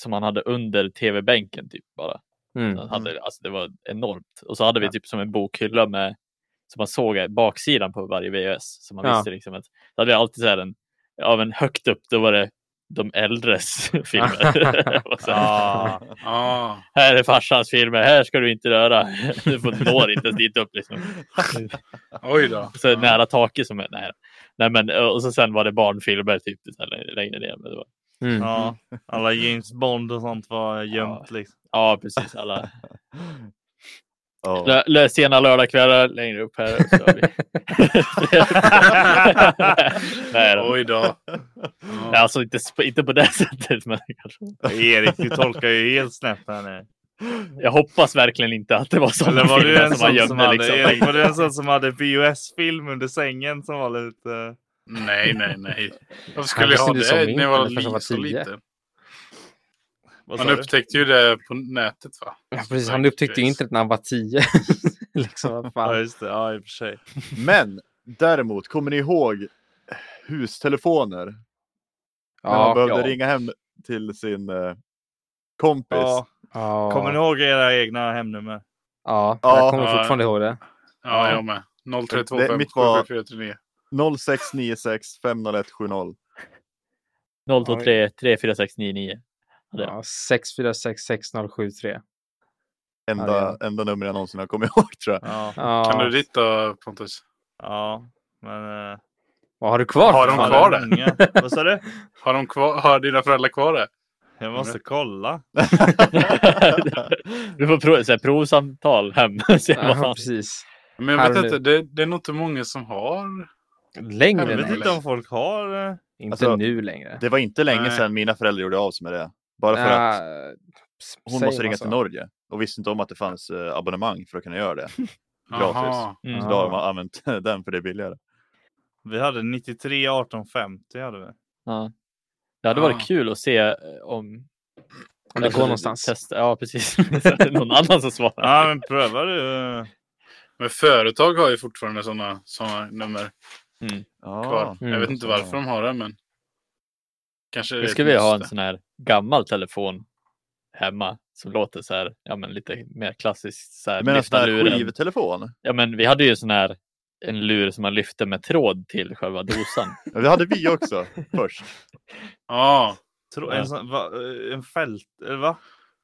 som han hade under tv-bänken typ bara. Mm. Han hade, alltså det var enormt. Och så hade vi typ som en bokhylla med, som man såg baksidan på varje VHS. Så man Ja. visste liksom att, då hade vi alltid så här en, ja men högt upp, då var det de äldres filmer. Och så, "Ah, Ja, Ja, Här är farsans filmer, här ska du inte röra. Du får når inte ens dit upp liksom. oj då. Så ja. nära taket som är nära. Nej, men, eh, och så sen var det barnfilmer typ så här längre- längre ner. Men det var, Mm. ja, alla James Bond och sånt var gömt liksom. ja, precis. Alla Ja. lö, lö, sena lördagkvällar längre upp här. Så har vi... Nej, då. Oj då. Nej, Ja. Alltså inte, sp- inte på det sättet, men kanske. Erik, du tolkar ju helt snett här nu. jag hoppas verkligen inte att det var sådana Eller var du filmer en som man sån gömde. som hade, liksom. Erik, var du en sån som hade VHS-film under sängen som var lite... Nej, nej, nej. Varför Han skulle jag ha visste inte det som när jag var, min, men först han var li- så tio. liten? Vad Man sa du? upptäckte ju det på nätet va? Ja, precis, han upptäckte ju Grace. internet när han var tio. liksom, vad Ja, fan. just det. Ja, i och för sig. Men däremot, kommer ni ihåg hustelefoner? När man Ja, behövde ringa hem till sin eh, kompis. Ja. ja, Kommer ni ihåg era egna hemnummer? ja, Ja. jag kommer Ja. fortfarande ihåg det. Ja, jag med. 032 Det- mitt var- 749. 0696 501 70. 023 34699. Ja. Ja, 646 6073. Enda, Ja, enda nummer jag någonsin har kommit ihåg tror jag. Ja. Ja. Kan du ditt då Pontus? Ja. Men... eh, Vad har du kvar? Har de för fan? kvar det? många. Vad sa du? Har, de kvar, har dina föräldrar kvar det? Jag måste kolla. du får prov, så här, provsamtal hem. Se vad Ja, fan. precis. Men Här jag och vet nu. inte, det, det är nog inte många som har. Längre Jag Jag nu. vet inte om folk har... eh, Inte Alltså, nu längre. Det var inte länge Nej. sedan mina föräldrar gjorde av sig med det. Bara för att Ja, s- hon säger måste man ringa så? till Norge och visste inte om att det fanns eh, abonnemang för att kunna göra det. Jaha. Gratis. Så Mm. då har man använt den för det är billigare. Vi hade 93 1850 hade vi. Ja. Det hade varit Ah. kul att se eh, om... Om det alltså, går någonstans. Testa. Ja, precis. Så att det är Någon annan som svarar. Ja, men pröva du. eh, Men företag har ju fortfarande sådana såna nummer Ja. kvar. Mm. jag vet inte varför de har det, men. Kanske det är Nu ett ska vi ha en måste. sån här gammal telefon hemma som låter så här, ja men lite mer klassiskt. Så här, Men en lyfta sån här luren. skivtelefon? Ja men vi hade ju sån här, en lur som man lyfte med tråd till själva dosan. Ja, Det hade vi också först. Ja, Tro, Ja. en, sån, va, eh, en fält... eller va?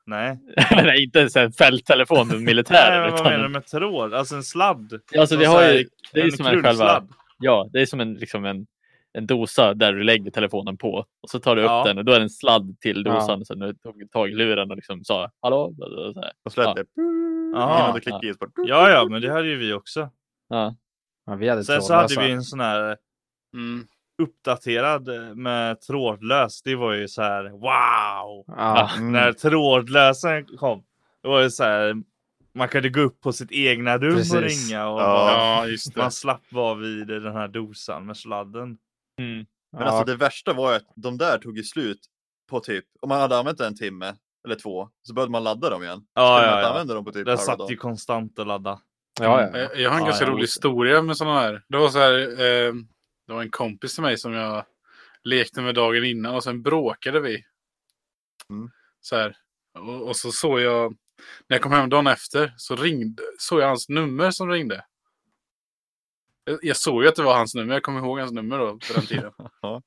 Nej. Nej, inte ens en fälttelefon med Nej militär. men vad utan, menar du med tråd? Alltså en sladd? alltså, vi Någon har så här- ju, det är ju som en själva krullsladd. Ja, det är som en, liksom en, en dosa där du lägger telefonen på och så tar du upp Ja. den och då är det en sladd till Ja. dosan. Så nu tog jag tag i luren och liksom sa hallå. och Så här. Och så lät Ja. det. Ja, Innan du klickade i. så bara- Ja, ja, men det hade ju vi också. Ja. Ja, vi hade Sen så trådlösa. hade vi en sån här mm. uppdaterad eh, med trådlös. Det var ju så här wow! Ja. Mm. När trådlösen kom, det var ju så här. Man kunde gå upp på sitt egna rum och Precis. ringa och Ja. bara- ja, just det. man slapp vara vid den här dosan med sladden. Men alltså det värsta var ju att de där tog ju slut på typ, om man hade använt en timme eller två, så började man ladda dem igen. Så Ja, kunde man ja, inte ja. använda dem på typ Den halva satt ju dagen. konstant och laddade. ja, ja. Jag, jag har en Ja, ganska ja, rolig just historia med sådana här. Det var så här, eh, det var en kompis till mig som jag lekte med dagen innan och sen bråkade vi. Mm. Så här. Och, och så såg jag, när jag kom hem dagen efter, så ringde, såg jag hans nummer som ringde. Jag, jag såg ju att det var hans nummer, jag kommer ihåg hans nummer då på den tiden. Ja.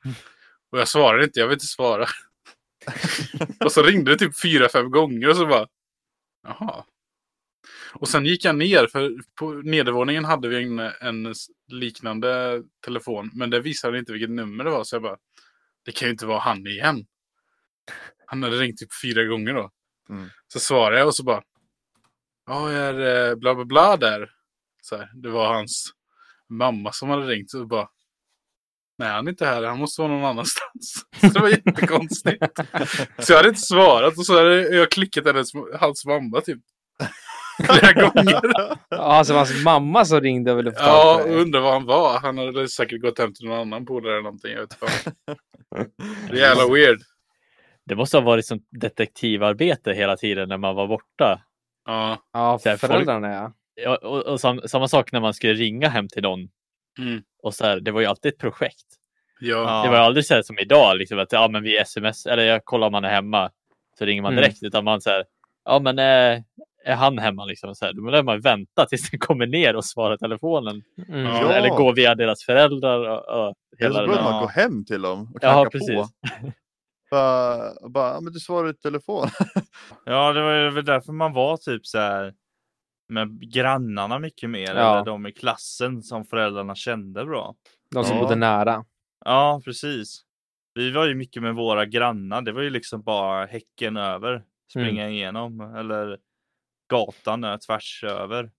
Och jag svarade inte, jag vill inte svara. och så ringde det typ fyra, fem gånger och så bara, jaha. Och sen gick jag ner, för på nedervåningen hade vi en, en s- liknande telefon. Men det visade inte vilket nummer det var, så jag bara, det kan ju inte vara han igen. Han hade ringt typ fyra gånger då. Mm. Så svarade jag och så bara, ja, jag är eh, bla bla bla där. Så här, det var hans mamma som hade ringt. Så bara, nej han är inte här, han måste vara någon annanstans. Så det var jättekonstigt. så jag hade inte svarat och så hade jag klickat hennes, hans mamma typ. Flera gånger. Ja, alltså hans mamma som ringde och ville få tag Ja, på och dig. undrar vad han var. Han hade säkert gått hem till någon annan polare eller någonting. Jag vet inte. fan. Det är jävla weird. Det måste ha varit som detektivarbete hela tiden när man var borta. Ja. Ja, Så här, folk- föräldrarna ja. Ja, och, och sam, samma sak när man skulle ringa hem till någon. Mm. Och så här, det var ju alltid ett projekt. Ja. Ja. Det var ju aldrig så här som idag, liksom, att ja, men vi sms, eller jag kollar om han är hemma, så ringer man Mm. direkt. Utan man så här, ja men eh, är han hemma liksom? Så här, då lär man ju vänta tills den kommer ner och svarar telefonen. Mm. Ja. Eller- Eller gå via deras föräldrar. Och, och Eller hela så den började där. Alltså, man gå hem till dem och Ja, knacka på. precis. Bara, bara, "Ja, men du svarar i telefon. Ja, det var ju väl därför man var typ så här med grannarna mycket mer. Ja. Eller de i klassen som föräldrarna kände bra. De som Ja. bodde nära. Ja, precis. Vi var ju mycket med våra grannar. Det var ju liksom bara häcken över, springa igenom eller gatan ö, tvärs över.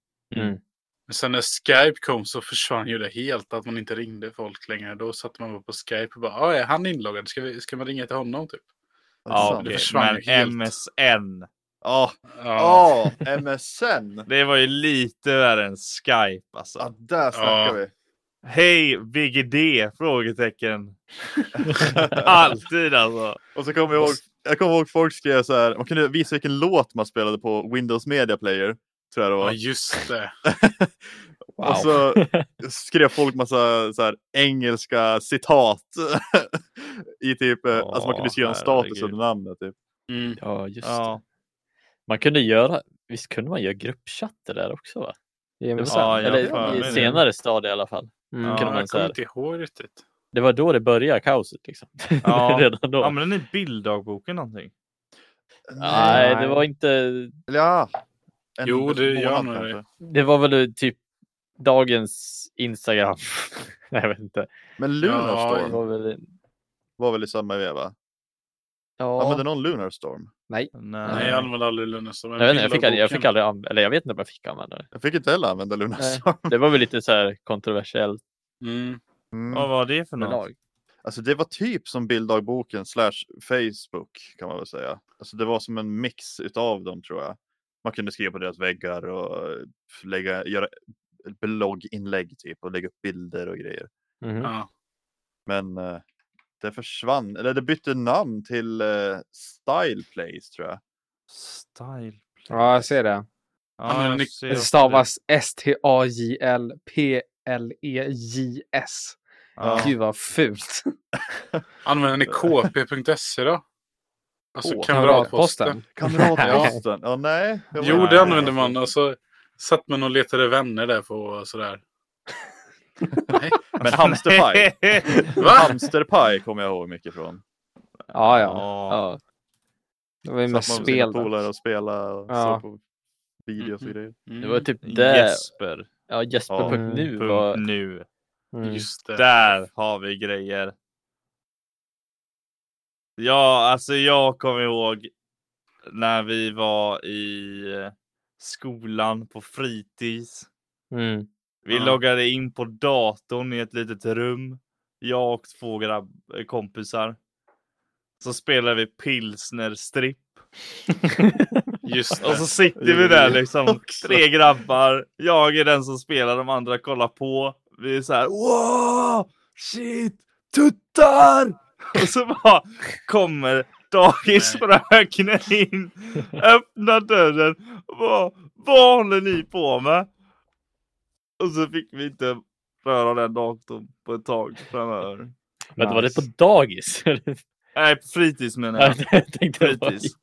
Men sen när Skype kom så försvann ju det helt. Att man inte ringde folk längre. Då satt man bara på Skype och bara, "Ja, är han inloggad? Ska, vi, ska man ringa till honom typ? Ja, Sant. okej. försvann men ju helt. MSN. Alltså, liksom. Ja, Ja. ja, MSN. Det var ju lite värre än Skype Ja, alltså. där snackar Ja. vi. Hej VGD? Frågetecken. Alltid alltså. Och så kommer jag ihåg, jag kommer ihåg folk skrev så här, man kunde visa vilken låt man spelade på Windows Media Player. Tror jag det ja, var. just det. Wow. Och så skrev folk massa så här, engelska citat. I typ, eh, alltså man kunde skriva en status herregud. under namnet. Typ. Mm. Ja, just det. Ja, Man kunde göra, visst kunde man göra gruppchatter där också? va? Gemensamt. Ja, jag Eller har för i mig det. senare stadie i alla fall. Mm. Ja. kunde man Jag så här- kommer inte ihåg riktigt. Det var då det började kaoset. Liksom. Ja. Redan då. använde ni bilddagboken någonting? Nej, det Nej. var inte. Eller ja. En Jo, det månad gör nog kanske. det. Det var väl typ dagens Instagram. Nej, jag vet inte. Men Ja, Det Lunarstorm var väl. var väl i samma veva? Ja, Använde någon Lunarstorm? Nej. Nej, jag använde aldrig Lunarstorm. jag, vet inte, jag, fick aldrig, jag fick aldrig använda, eller jag vet inte om jag fick använda det. Jag fick inte heller använda Lunarstorm. Det var väl lite så här kontroversiellt Mm. Mm. Vad var det för något? förlag. Alltså det var typ som bilddagboken slash Facebook kan man väl säga. Alltså det var som en mix utav dem tror jag. Man kunde skriva på deras väggar och eh, lägga, göra blogginlägg typ och lägga upp bilder och grejer. Mhm. Ja. Men eh, det försvann, eller det bytte namn till eh, Style Place tror jag. Style. Ja, jag ser det. men Ja, jag Nick- ser Det också stavas S-T-A-J-L-P-L-E-J-S. Ja. E Gud vad fult. Använder ni kp.se då? Alltså K. kamratposten. Kamratposten, ja nej. Jo, Nej, det det använde var man. Och så satt man och letade vänner där på och sådär. Nej. Men hamsterpaj. Mm. hamsterpaj kommer jag ihåg mycket från. Ja, ja. Ja. Ja. Det var ju med Satt man med sina spel. då. polare och spela och Ja. såg på videos och grejer. Mm. Det var typ det. Jesper. Ja, Jesper.nu Punkt var... nu. Mm. Just det. Där har vi grejer. Ja, alltså jag kommer ihåg när vi var i eh, skolan på fritids. Mm. Vi Ja. loggade in på datorn i ett litet rum. Jag och två grabb- eh, kompisar. Så spelade vi pilsnerstripp. Just Och det. så sitter vi där liksom, tre grabbar. Jag är den som spelar, de andra kollar på. Vi är så här, wow, shit, tuttar! Och så bara kommer dagisfröken in, öppnar dörren och bara, vad håller ni på med? Och så fick vi inte röra den datorn på ett tag framöver. Vänta, var det Nice. på dagis? Nej, på fritids menar jag. jag tänkte det var- Fritids.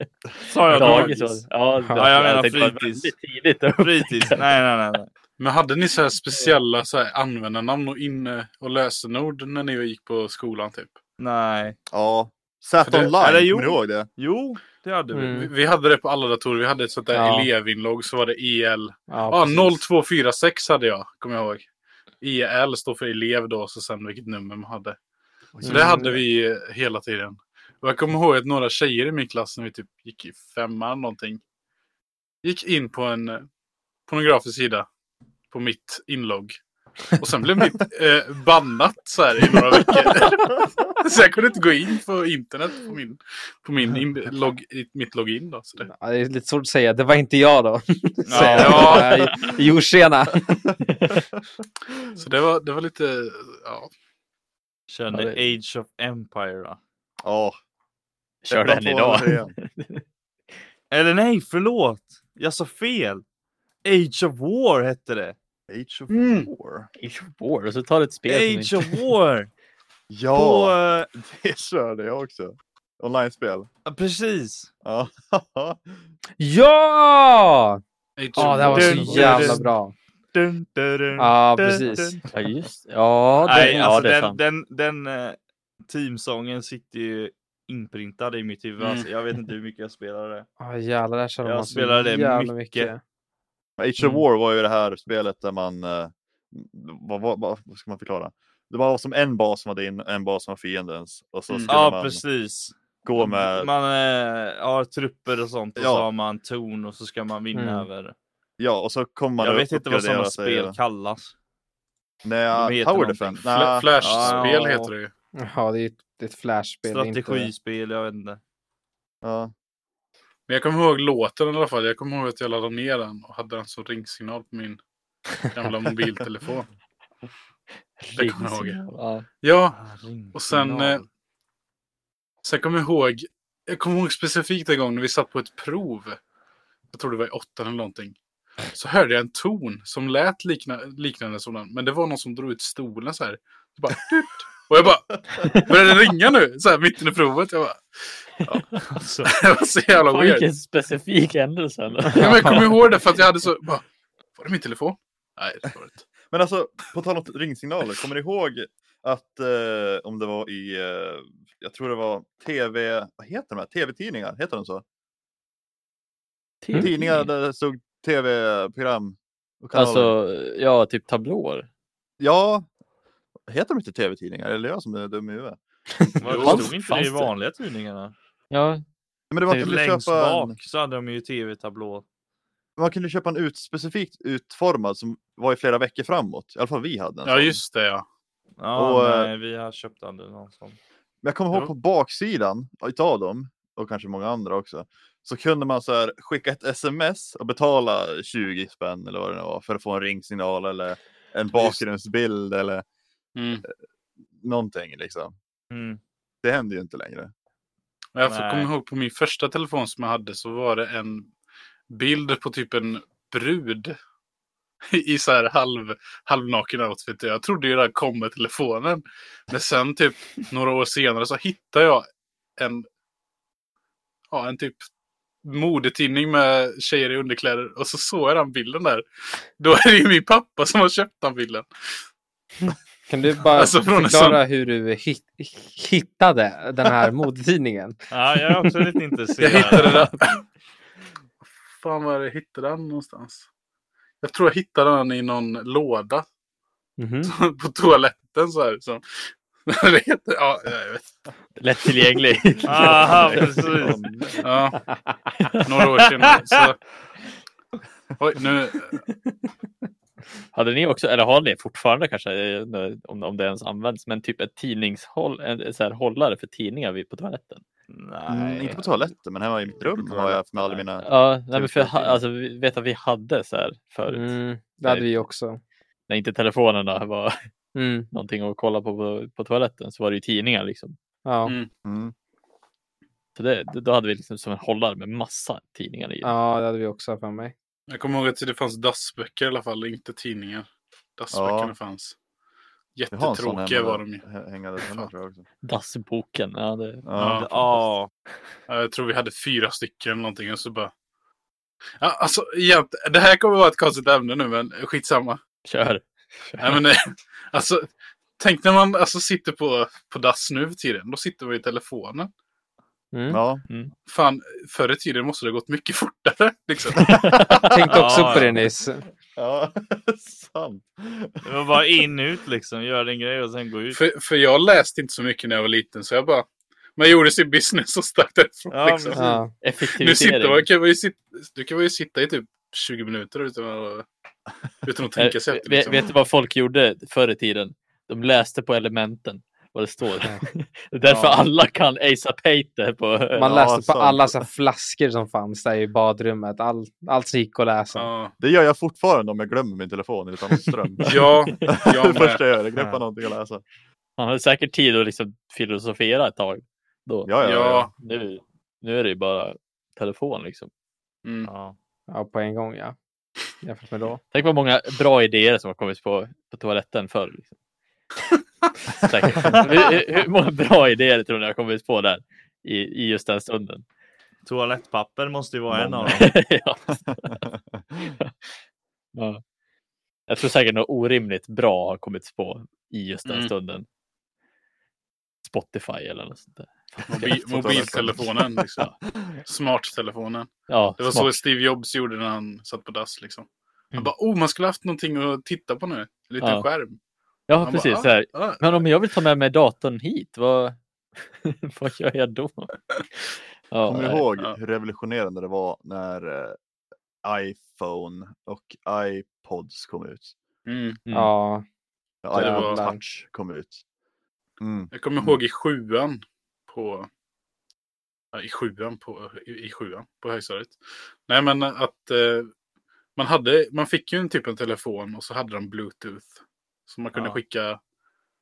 Sa jag dagis? var- Ja, det- Ja, jag menar tänkte det var fritids. väldigt tidigt. då. Fritids? Nej, nej, nej. nej. Men hade ni så här speciella så här användarnamn och, inne och lösenord när ni gick på skolan? typ? nej. Ja. Satt För det- online, eller jo. kommer du ihåg det? Jo, det hade vi. Mm. Vi, vi hade det på alla datorer. Vi hade ett sånt där Ja. elevinlogg, så var det E EL. Ja, Ja, precis. 0246 hade jag, kommer jag ihåg. EL står för elev då, så sen vilket nummer man hade. Så det Mm. hade vi eh, hela tiden. Och jag kommer ihåg att några tjejer i min klass när vi typ gick i femman någonting. Gick in på en eh, pornografisk sida. På mitt inlogg. Och sen blev mitt eh, bannat så här i några veckor. så jag kunde inte gå in på internet på min, på min in, log, i mitt login. Då, så det. Ja, det är lite svårt att säga. Det var inte jag då. eh, Säger Ja. jag. Jo, tjena. Så det var, det var lite, ja. Körde Ja, det- Age of Empire då. Ja. Kör Ettan, den tvåan, idag. trean. Eller nej, förlåt! Jag sa fel! Age of War hette det. Age of Mm. War. Age of War, och så tar det ett spel Age som of War! Ja, På, eh, det körde jag också. Online-spel. precis. Ja. Ja! Ja, det här var Dun, så dun, jävla liksom dun. bra. Dun, dun, dun, Ja, dun, precis. dun. inte... Ja, just Ja, det, Nej, ja, alltså det den, är sant. den, den eh, teamsången sitter ju inprintad i mitt huvud. Mm. Alltså, jag vet inte hur mycket jag spelade det. Ja, jävlar, där körde Jag man så spelade det jävla mycket. mycket. Men Age of Mm. War var ju det här spelet där man... eh, Vad, vad, vad, vad ska man förklara? Det var som en bas som var din, en bas som var fiendens. Och så Mm. skulle Ja, man precis. gå med... Man eh, har trupper och sånt och Ja. så har man torn och så ska man vinna Mm. över. Ja, och så kommer man jag upp- vet inte vad uppgradera sådana sig. spel kallas. De Nej, heter Tower någonting. Defense. Fla- Nej, Flashspel Ja. heter det ju. Ja, det är ett, det är ett flashspel. det är inte- Strategispel, jag vet inte. ja. Men jag kommer ihåg låten i alla fall. Jag kommer ihåg att jag laddade ner den och hade den som ringsignal på min gamla mobiltelefon. det kommer jag ihåg. Ja. Ja, Ah, ring- Och sen, signal. eh, sen kommer jag ihåg, jag kommer ihåg specifikt en gång när vi satt på ett prov. Jag tror det var i åttan eller någonting. Så hörde jag en ton som lät likna, liknande sådan. Men det var någon som drog ut stolen så här. Så bara, tut. och jag bara, började den ringa nu? Så här mitt under provet. Jag bara, Alltså, det var så jävla Fan, weird. vilken specifik händelse. ändå. Ja, men jag kommer ihåg det för att jag hade så, bara, var det min telefon? Nej, det var det inte. Men alltså, på tal om ringsignaler, kommer ni ihåg att eh, om det var i, eh, jag tror det var tv, vad heter de här? Tv-tidningar, heter de så? Till- Tidningar där det stod tv-program och kanaler. Alltså, ja, typ tablåer. Ja, heter de inte tv-tidningar? Eller är jag som är dum i huvudet? var Fanns- det stod inte fanns det i det? vanliga tidningarna? Ja, Men det var att du kunde Längst köpa en, bak så hade de ju tv-tablå. man kunde köpa en ut, specifikt utformad som var i flera veckor framåt. I alla fall vi hade en Ja, sån. just det ja. Ja, Och, eh, nej, vi har köpt aldrig någon sån. Men jag kommer ihåg Ja. på baksidan utav dem och kanske många andra också. Så kunde man så här skicka ett sms och betala 20 spänn eller vad det nu var för att få en ringsignal eller en bakgrundsbild eller eh, Mm. någonting liksom. Mm. Det händer ju inte längre. Och Jag Nej. kommer ihåg på min första telefon som jag hade så var det en bild på typ en brud i så här halv, halvnaken outfit. Jag trodde ju det här kom med telefonen. Men sen typ några år senare så hittade jag en, ja, en typ modetidning med tjejer i underkläder och så såg jag den bilden där. Då är det ju min pappa som har köpt den bilden. Kan du bara Alltså, från en förklara hur du hit, hittade den här modetidningen? Ja, jag är också lite Jag intresserad. hittade den. fan var det jag hittade den någonstans? Jag tror jag hittade den i någon låda Mhm. på toaletten så här. Så. det heter, ja, jag vet. Lättillgänglig. Aha, Mm, precis. Ja, några år senare. Så. Oj, nu. Hade ni också, eller har ni fortfarande kanske, jag undrar om, om det ens används, men typ ett tidningshåll, en så här, hållare för tidningar vid- på toaletten? Nej. Mm, inte på toaletten, men hemma i mitt rum har jag haft med alla mina... Ja, nej, men för jag, ha- tidningar. alltså, vi vet att vi hade så här förut, Mm, det hade vi också. när inte telefonerna var Mm, någonting att kolla på, på på toaletten, så var det ju tidningar liksom. ja. Mm. Mm. Så det, då hade vi liksom som en hållare med massa tidningar i. ja, det hade vi också för mig. Jag kommer ihåg att det fanns dassböcker i alla fall, inte tidningar. Dassböckerna fanns. Jag har en sån Jättetråkiga hemma var där- de ju. hä- Hängande hemma tror jag också. Dassboken, ja det Ja. Ja. Ja. Ja, Jag tror vi hade fyra stycken eller någonting och så bara... Ja, alltså, egent- det här kommer vara ett konstigt ämne nu, men skitsamma. kör. Nej, men, eh, alltså, tänk när man alltså, sitter på, på dass nu för tiden. Då sitter man i telefonen. Mm. Ja. Fan, förr i tiden måste det ha gått mycket fortare. Liksom. Tänkte också Ja, ja. på det nyss. ja, sant. Det var bara in ut liksom, göra din grej och sen gå ut. för, för jag läste inte så mycket när jag var liten, så jag bara... Man gjorde sin business så starkt därifrån. Ja, liksom. men- Ja. alltså, Effektivisering. nu sitter man, kan man ju sitta, du kan man ju sitta i typ 20 minuter utan att, utan att Eh, tänka sig efter. vet, Liksom. vet du vad folk gjorde förr i tiden? De läste på elementen vad det står. Det är därför Ja. alla kan Asa Pater på... Man Ja, läste på sant. alla så här flaskor som fanns där i badrummet. All, allt som gick att läsa. Ja, Det gör jag fortfarande om jag glömmer min telefon utan ström. ja, det jag med. första jag gör är att greppa Ja. någonting och läsa. Man hade säkert tid att liksom filosofera ett tag. Då. Ja, ja, ja. Ja, Nu, nu är det ju bara telefon liksom. mm. Ja. Ja, på en gång ja. Jämfört med då. Tänk vad många bra idéer som har kommit på, på toaletten förr. Liksom. Säkert. hur, hur- hur många bra idéer tror ni har kommit på där? I, i just den stunden. Toalettpapper måste ju vara en av Många. dem. ja. Ja. Jag tror säkert något orimligt bra har kommit på i just den Mm. stunden. Spotify eller något sånt där. Mobi- mobiltelefonen. Liksom. Smarttelefonen. Ja, Det var smart. Mm. så Steve Jobs gjorde när han satt på dass. Liksom. Han bara, oh, man skulle haft någonting att titta på nu. En liten Ja. skärm. ja Han precis. bara, "Ah, så här. Ja, Men om jag vill ta med mig datorn hit, vad, vad gör jag då? Ja, Kommer nej. du ihåg Ja. hur revolutionerande det var när eh, iPhone och iPods kom ut? Mm. Mm. Ja. Ja, Det iPod var- Touch kom ut. Mm. Jag kommer ihåg i sjuan på... Ja, I sjuan på, i, i sjuan på högstadiet. Nej, men att eh, man, hade, man fick ju en typ av telefon och så hade de bluetooth. Så man kunde Ja. skicka,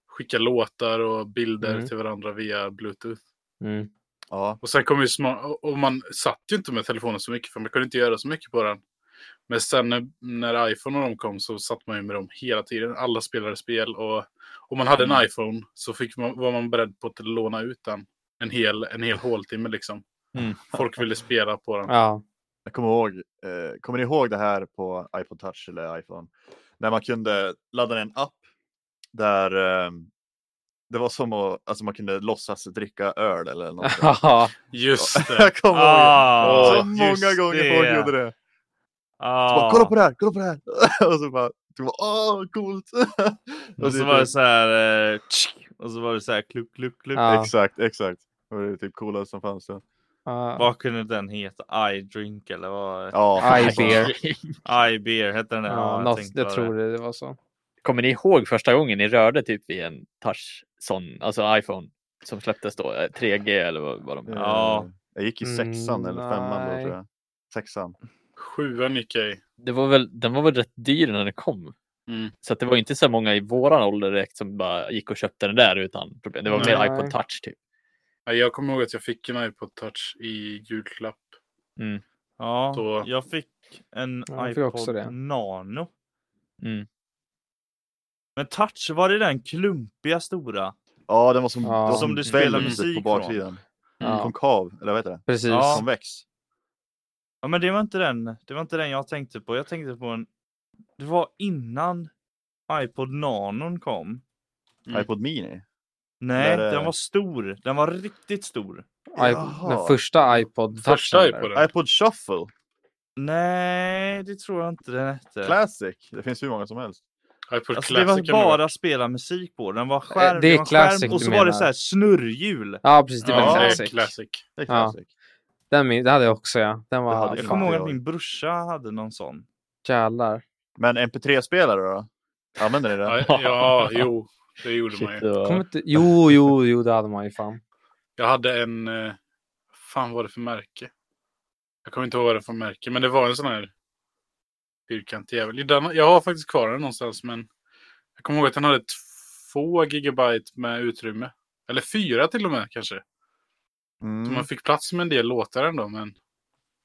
skicka låtar och bilder Mm. till varandra via bluetooth. Mm. Ja, Och sen kom ju smart, och- och man satt ju inte med telefonen så mycket för man kunde inte göra så mycket på den. Men sen när, när iPhone och de kom så satt man ju med dem hela tiden. Alla spelade spel och om man hade en iPhone så fick man, var man beredd på att låna ut den. En hel, en hel håltimme liksom. Mm. Folk ville spela på den. Ja. jag kommer ihåg. Eh, kommer ni ihåg det här på iPod Touch eller iPhone? När man kunde ladda ner en app där eh, det var som att alltså man kunde låtsas dricka öl eller något. Ja. Just det. jag kommer ihåg det. Ah, Så många just gånger folk gjorde det. Så Ah. bara, kolla på det här, kolla på det här! och så bara, typ, åh coolt! Och så det- typ var det så här... eh, tsk, Och så var det så här kluck, kluck, kluck. Ja. Exakt, exakt. Det var det typ coolaste som fanns. då. Ja. Vad kunde den heta? I drink eller vad? Ja, Aj, fy fan. beer. I beer hette den där. Ja, jag något, tänkte jag på tror det, det var så. Kommer ni ihåg första gången ni rörde typ i en touch, sån, alltså iPhone, som släpptes då? eh, 3G eller vad, vad de Ja. Jag gick i sexan Mm, eller femman då nej. tror jag. Sexan. Sjuan gick jag i. det var väl, den var väl rätt dyr när den kom. Mm. Så att det var inte så många i våran ålder direkt som bara gick och köpte den där utan problem. Det var Nej. mer iPod touch typ. Ja, Jag kommer ihåg att jag fick en iPod touch i julklapp. Ja, Så- jag fick en Ja, jag fick iPod också det. Nano. Mm. Men touch, var det den klumpiga stora? Ja, den var som, Ja. det var Som en du spelar välv musik på från. baksidan. Mm, Ja. Konkav, eller vad heter det? Precis. Ja. Konvex. Ja, men det var inte den. Det var inte den jag tänkte på. Jag tänkte på en... Det var innan iPod Nanon kom. Mm. iPod Mini. Nej, Där är- den var stor. Den var riktigt stor. I, Jaha. den första iPod Första touchen där. iPoden. iPod Shuffle. Nej, det tror jag inte den hette. Classic. Det finns hur många som helst. iPod Alltså, det Classic. var kan man- bara spela musik på. Den var skärm, Eh, det är det var classic skärm och du så var det menar. så här snurrhjul. Ja, precis. Det var ja, classic. Det är classic. Det Ja. är classic. Den min, det hade jag också, ja. Den Det var... hade Jag fan, kommer ihåg det att var- min brorsa hade någon sån. Jävlar. Men MP3-spelare då? Använder ni det? Ja, ja, jo. Det gjorde man Shit, ju. det var... Kommer inte... Jo, jo, jo, det hade man ju fan. Jag hade en... eh, fan vad var det för märke? Jag kommer inte ihåg vad det var för märke, men det var en sån här fyrkantig jävel. Den, jag har faktiskt kvar den någonstans, men jag kommer ihåg att den hade två gigabyte med utrymme. Eller fyra till och med kanske. Så Mm. man fick plats med en del låtar ändå, men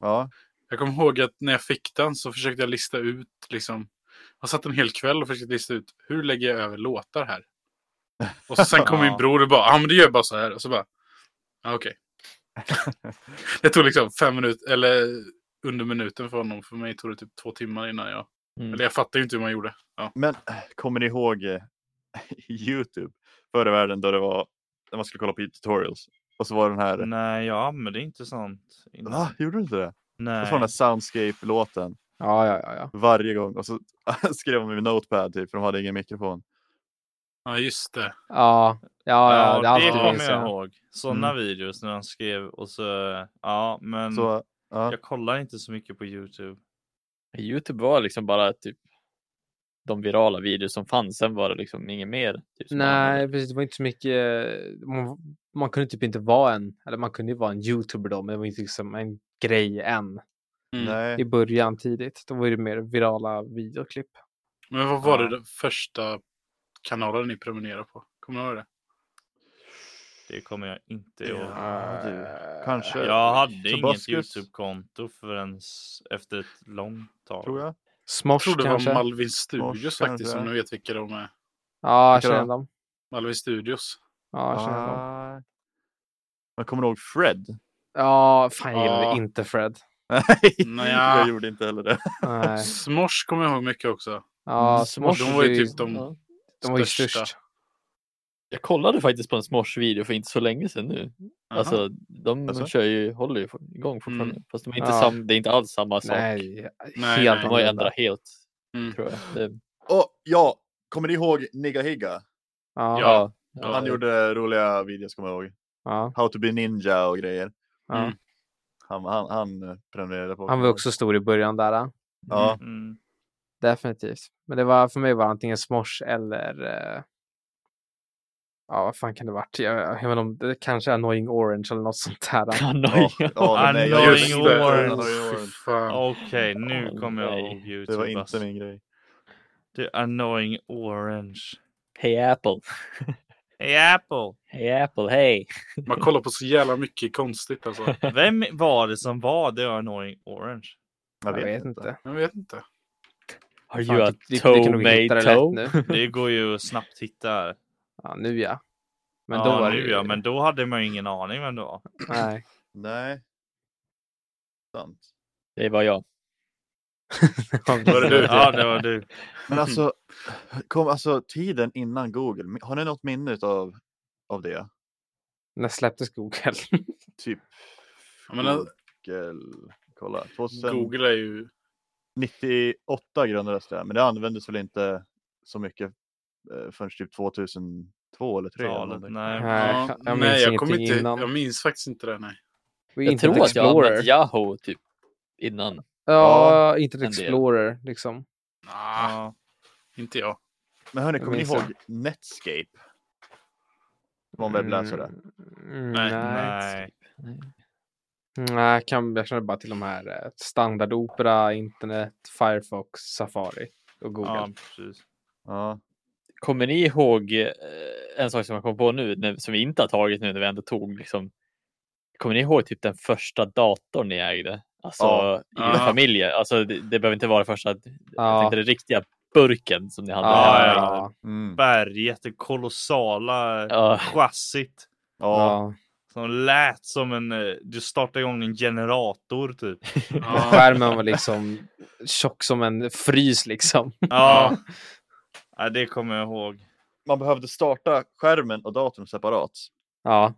Ja. jag kommer ihåg att när jag fick den så försökte jag lista ut liksom. Jag satt en hel kväll och försökte lista ut hur lägger jag över låtar här? Och så sen kom Ja. min bror och bara, ja ah, men det gör bara så här. Och så bara, ah, okej. det tog liksom fem minuter, eller under minuten för honom. För mig tog det typ två timmar innan jag, Mm. eller jag fattade ju inte hur man gjorde. Men äh, kommer ni ihåg eh, Youtube? Förr i världen då det var när man skulle kolla på tutorials. Och så var den här... Nej, jag använde inte sånt. innan. Va? Gjorde du inte det? Och så var den här Nej. Soundscape-låten Ja, ja, ja. ja. varje gång. Och så skrev de med notepad typ, för de hade ingen mikrofon. Ja, just det. Ja, ja, ja. Ja, hade det jag kommer minns, jag ja. ihåg. Såna videos när han skrev och så... Ja, men Så, ja. jag kollar inte så mycket på YouTube. Youtube var liksom bara typ de virala videos som fanns. Sen var det liksom inget mer. Typ, som man använde. Nej, precis. Det var inte så mycket. Man, man kunde typ inte vara en, eller man kunde ju vara en youtuber då, men det var inte liksom en grej än. Mm. I Nej. början tidigt, då var det mer virala videoklipp. Men vad var Ja. det den första kanalen ni prenumererade på? Kommer du ihåg det? Det kommer jag inte ihåg. Ja, du. Eh, Kanske. Jag hade inget Tobaskus, YouTube-konto förrän efter ett långt tag. Mm, Tror jag. Jag tror Smosh det kanske? var Malvin Studios Mors, faktiskt, kanske. om ni vet vilka de är. ja, jag Vilka då? känner dem. Malvin Studios. Ja, jag känner dem. Ah. Man kommer ihåg Fred? Ja, fan jag gillade Ja. inte Fred. Nej, Nja. jag gjorde inte heller det. Nej. Smosh kommer jag ihåg mycket också. Ja, Mm, Smosh de var ju typ de, de Ja. var ju största. störst. Jag kollade faktiskt på en Smosh-video för inte så länge sedan nu. Jaha. Alltså, de Alltså? kör ju, håller ju for- igång fortfarande. Fast de är inte Mm. Ja. sam, det är inte alls samma sak. Nej, nej. helt de har ju annorlunda. ändrat helt, Mm. tror jag. Det, Och ja, kommer ni ihåg Nigga Higga? Ja, ja. Ja. Ja, Han det- gjorde roliga videos kommer jag ihåg. Ja, How to be ninja och grejer. ja. Mm. Han, han, han eh, prenumererade på. Han var också stor i början där. eh. Ja. Mm. Definitivt. Men det var för mig var det antingen Smosh eller eh, Ja, vad fan kan det varit? Jag, jag vet inte om det kanske är Annoying Orange eller något sånt där. eh. Hanoi. Ja, ja, nej, jag Annoying gjorde inte det. Orange. Annoying Fy Orange. fan. Okej, nu Åh, kommer jag nej. ihåg YouTube. Det var alltså. inte min grej. Det är annoying orange. Hey Apple. Hey Apple! Hey Apple, hey. Man kollar på så jävla mycket konstigt alltså. Vem var det som var det annoying orange? Jag vet inte. Jag vet inte. Are Fan, you a du- du kunde nog hitta det lätt tomato? nu. Det går ju att snabbt hitta. här. Ja, nu ja. Men ja, då var nu det ju... ja, men då hade man ju ingen aning vem det var. Nej. Nej. Sant. Det var jag. Var det du? Ja, det var du. Men alltså, kom, alltså tiden innan Google. Har ni något minne av, av det? När släpptes Google? Typ Jag menar, Google. Kolla. 2098 Google är ju... grundades det. Men det användes väl inte så mycket eh, förrän typ 2002 eller 2003. eller Talet, någonting. nej. Nej, ja, jag minns nej, jag, ingenting kommer inte, innan. jag minns faktiskt inte det. Nej. Och Jag Internet tror att jag har Explorer. använt Yahoo typ innan. Ja, Internet en del. Explorer liksom. Nah, Ja. Inte jag. Men hörni, Jag kommer ni minns det. ihåg Netscape? Det var en webbläsare. Mm, Nej. nej. Nej. Nej, jag, kan, jag känner bara till de här eh, standard Opera, internet, Firefox, Safari och Google. Ja, precis. Ja. Kommer ni ihåg eh, en sak som jag kom på nu, när- som vi inte har tagit nu när vi ändå tog liksom. Kommer ni ihåg typ den första datorn ni ägde? Alltså Ja. i Ja. familjen. Alltså det, det behöver inte vara det första. Jag Ja. tänkte den riktiga burken som ni hade. Ah, Ja, ja, ja. Mm. Berget, det kolossala Ja. chassit. Ja. Ja. Som lät som en... eh, Du startade igång en generator typ. Ja. Skärmen var liksom tjock som en frys liksom. Ja. Ja, det kommer jag ihåg. Man behövde starta skärmen och datorn separat. Ja,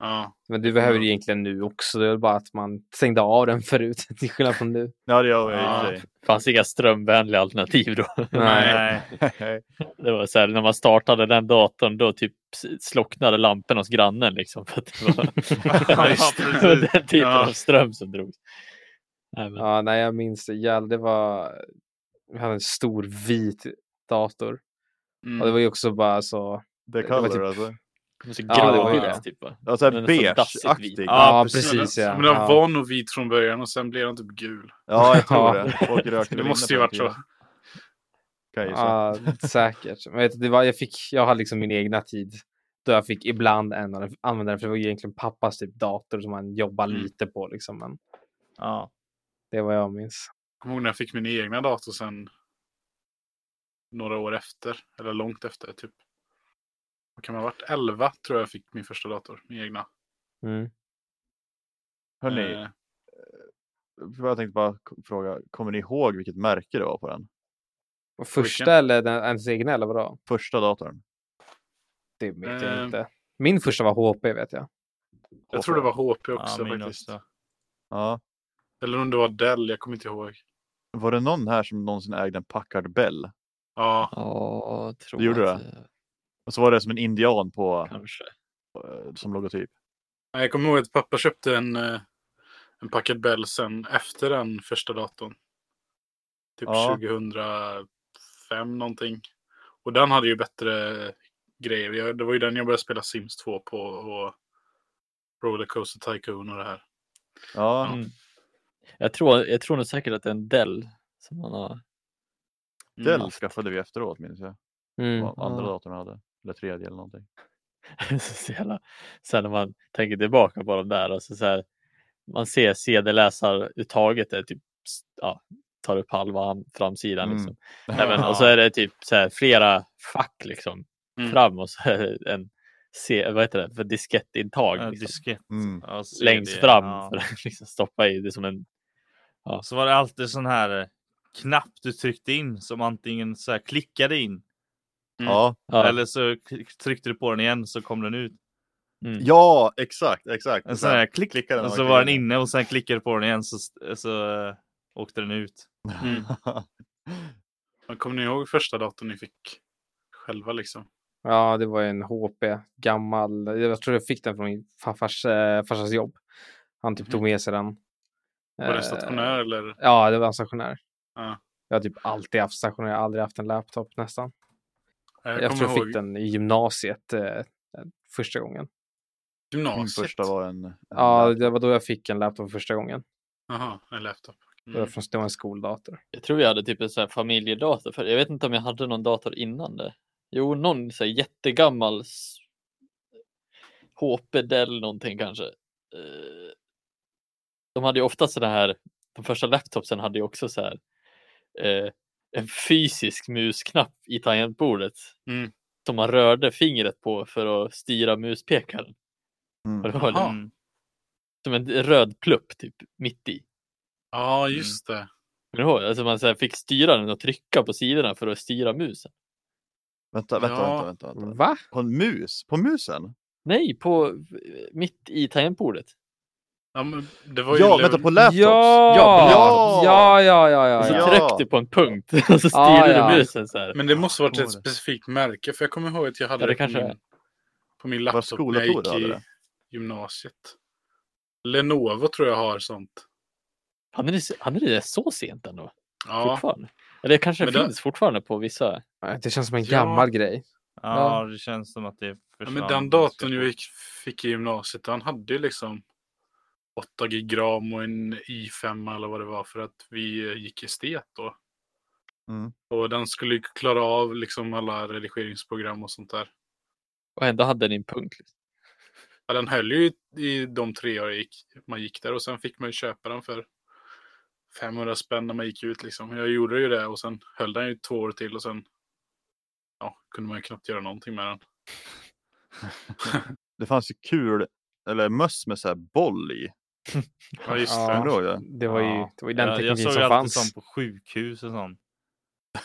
Ja. men du behöver Ja. det egentligen nu också. Det är väl bara att man stängde av den förut till skillnad från nu. Ja, det gör jag Ja. i och fanns inga strömvänliga alternativ då. Nej. för sig. Det var så här, när man startade den datorn då typ slocknade lamporna hos grannen liksom. För att det var, Ja, just det. det var den typen Ja. av ström som drogs. Nej, men, Ja, nej, jag minns det jävligt. Det var... Vi hade en stor vit dator. Mm. Och det var ju också bara så... The Det var color typ- alltså. den är så Ja, det var grå ju vit, det. typ, va? Ja, så här Den är så beige-aktig. dassigt Ja, Ja, precis. precis ja. Men den ja. var nog vit från början och sen blev den typ gul. Ja, jag tror Ja. det. Och rökte Det väl måste ju inne på varit den så. tiden, Kan jag gissa. Ja, säkert. Men vet, du, det var, jag, fick, jag har liksom min egna tid då jag fick ibland en av den- använda den, för det var ju egentligen pappas typ dator som han jobbade Mm. lite på. Liksom, men Ja. det är vad jag minns. kommer ihåg när jag fick min egna dator sen några år efter, eller långt efter typ. Vad kan man ha varit? 11 tror jag fick min första dator, min egna. Mm. Hörrni, Eh, jag tänkte bara k- fråga, kommer ni ihåg vilket märke det var på den Och Första eller den, ens egna eller vadå? första datorn? Det vet jag Eh. inte. Min första var HP vet jag. jag tror det var HP Ja, också min faktiskt. också. Ja. Eller om det var Dell, jag kommer inte ihåg. Var det någon här som någonsin ägde en Packard Bell? Ja, Ja, jag tror Det gjorde att, eh, Och så var det som en indian på, Kanske. eh, som logotyp. Nej, jag kommer ihåg att pappa köpte en, eh, en Packard Bell sen efter den första datorn. Typ Ja. 2005 någonting. Och den hade ju bättre grejer. Jag, det var ju den jag började spela Sims 2 på och Rollercoaster Tycoon och det här. Ja, Mm. Jag tror, jag tror nog säkert att det är en Dell som man har. Mm. Dell skaffade vi efteråt minns jag. Mm. Vad andra Ja. datorn hade. Eller tredje eller någonting. så jävla... Sen när man tänker tillbaka på de där, alltså så här, man ser CD-läsaruttaget är typ, ja, tar upp halva an- framsidan. Mm. Liksom. Nej, men, och så är det typ så här, flera fack liksom, Mm. fram och så är det en C, vad heter det, för Ja, diskettintag liksom, diskett. Mm. Ja, CD, längst fram ja. för att liksom, stoppa i. Det är som en, Så var det alltid sån här eh, knapp du tryckte in som antingen så här klickade in Mm. Ja. ja, eller så k- tryckte du på den igen så kom den ut. mm. ja, exakt, exakt. En sån här Alltså, klick klickade när och man så klickade var den in. inne och sen klickade du på den igen så, st- så eh, åkte den ut. Mm. Men Kommer ni ihåg första datorn ni fick själva liksom? Ja, det var ju en HP, gammal. Jag tror jag fick den från min farfars, eh, farsas jobb. Han typ tog med sig den. Mhm. Var Eh, det stationär eller? Ja, det var en stationär. Ja. Jag har typ alltid haft stationär, jag har aldrig haft en laptop nästan. Jag, Jag, jag tror kommer jag fick ihåg den i gymnasiet eh, eh, första gången. Min gymnasiet. första var en... en Ja, laptop. det var då jag fick en laptop första gången. Jaha, en laptop. Det var Mm. från det var en skoldator. Jag tror jag hade typ en sån här familjedator. För jag vet inte om jag hade någon dator innan det. Jo, någon så här jättegammal s- HP Dell någonting kanske. Eh, De hade ju ofta sådana här, de första laptopsen hade ju också så här eh, en fysisk musknapp i tangentbordet. Mm. Som man rörde fingret på för att styra muspekaren. Mm. Och det var Jaha. liksom som en röd plupp typ mitt i. Ja, Mm. just det. Kommer du ihåg? Alltså man så här fick styra den och trycka på sidorna för att styra musen. Vänta, vänta, Ja. vänta, vänta, vänta. Va? På en mus? På musen? Nej, på eh, mitt i tangentbordet. Ja, men det var ju Ja, lev- vänta på laptops? Ja! Ja! Ja, ja, ja, ja. Och så ja. Ja. tryckte du på en punkt och så styrde Ja, ja. du musen så här. Men det måste varit tror ett det. specifikt märke, för jag kommer ihåg att jag hade Ja, det det på, kanske min, är. på min Var laptop när jag skoldator gick du hade i det? gymnasiet. Lenovo tror jag har sånt. Han är, det- han är det så sent ändå? Ja, Fortfarande? Eller det kanske Men det- finns fortfarande på vissa? Nej, Det känns som en Ja. gammal grej. Ja, det känns som att det ja, försvann. men den datorn jag gick, fick i gymnasiet, han hade ju liksom 8 gig ram och en i5 eller vad det var för att vi eh, gick estet då. Mm. Och den skulle ju klara av liksom alla redigeringsprogram och sånt där. Och ändå hade ni en punkt. liksom. Ja, den höll ju i- i de tre år jag gick, man gick där och sen fick man ju köpa den för 500 spänn när man gick ut liksom. Jag gjorde ju det och sen höll den ju två år till och sen ja, kunde man ju knappt göra någonting med den. Det fanns ju kul, eller möss med så här boll i. Ja, just Ja. det. Kommer du ihåg det? Det var ju, det var ju den jag, jag tekniken såg som alltid sånt fanns. på sjukhus och sånt.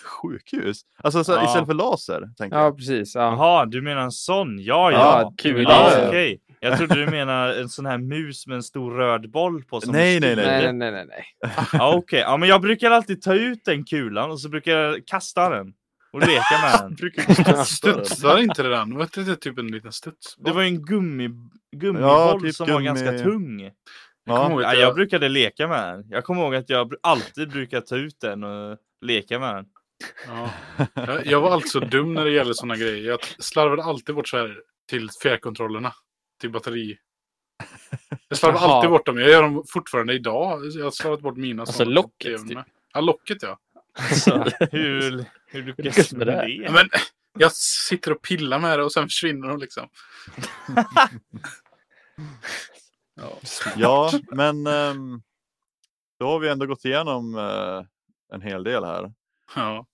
Sjukhus? Alltså så, Ja. istället för laser, tänker Ja, jag. precis. Ja. Jaha, du menar en sån? Ja, ja. Ja, kul. Ja, Ja, ja. Okej, jag trodde du menade en sån här mus med en stor röd boll på. Som Nej, nej, Nej, styr. nej, nej, nej, nej. Ja, Okej, ja, men jag brukar alltid ta ut den kulan och så brukar jag kasta den och leka med den. Studsar inte det där? Det var inte typ en liten studs? Det var ju en gummi, gummiboll Ja, typ som var gummi- ganska tung. Kommer Ja. ihåg Ja, att jag brukade leka med den. Jag kommer ihåg att jag br- alltid brukar ta ut den och leka med den. Ja. Jag- Jag var alltså dum när det gäller sådana grejer. Jag slarvade alltid bort så här till fjärrkontrollerna. Till batteri. Jag slarvade Jaha. alltid bort dem. Jag gör dem fortfarande idag. Jag har slarvat bort mina. Alltså såna. locket, Även typ. med- Ja, locket ja. Alltså, Hur, hur lyckas lyckas du du med med det här? det? Men jag sitter och pillar med det och sen försvinner de liksom. Ja. ja, men ehm, då har vi ändå gått igenom eh, en hel del här. ja.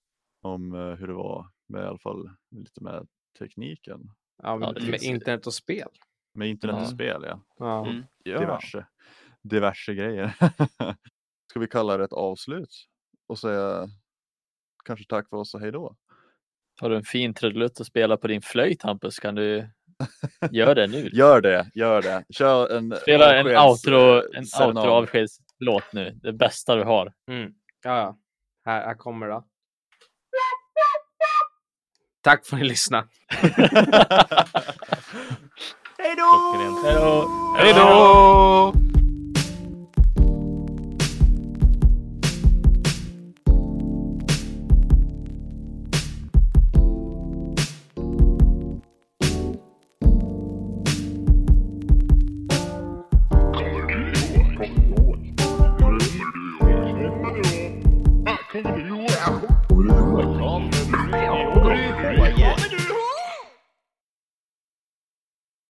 om eh, hur det var med i alla fall lite med tekniken. Ja, men, Ja, det med finns- internet och spel. Med internet och Ja. spel, ja. Ja. Mm. Ja. Diverse, diverse grejer. Ska vi kalla det ett avslut och säga kanske tack för oss och hej då? har du en fin trudelutt att spela på din flöjt Hampus kan du göra det nu. Gör det, gör det. Kör en Spela en avskeds, outro, eh, en serenad. outro avskedslåt nu. Det bästa du har. Mm. Ja, ja. Här, här kommer det. Tack för att ni lyssnade. Klockrent. Hej då! Hej då!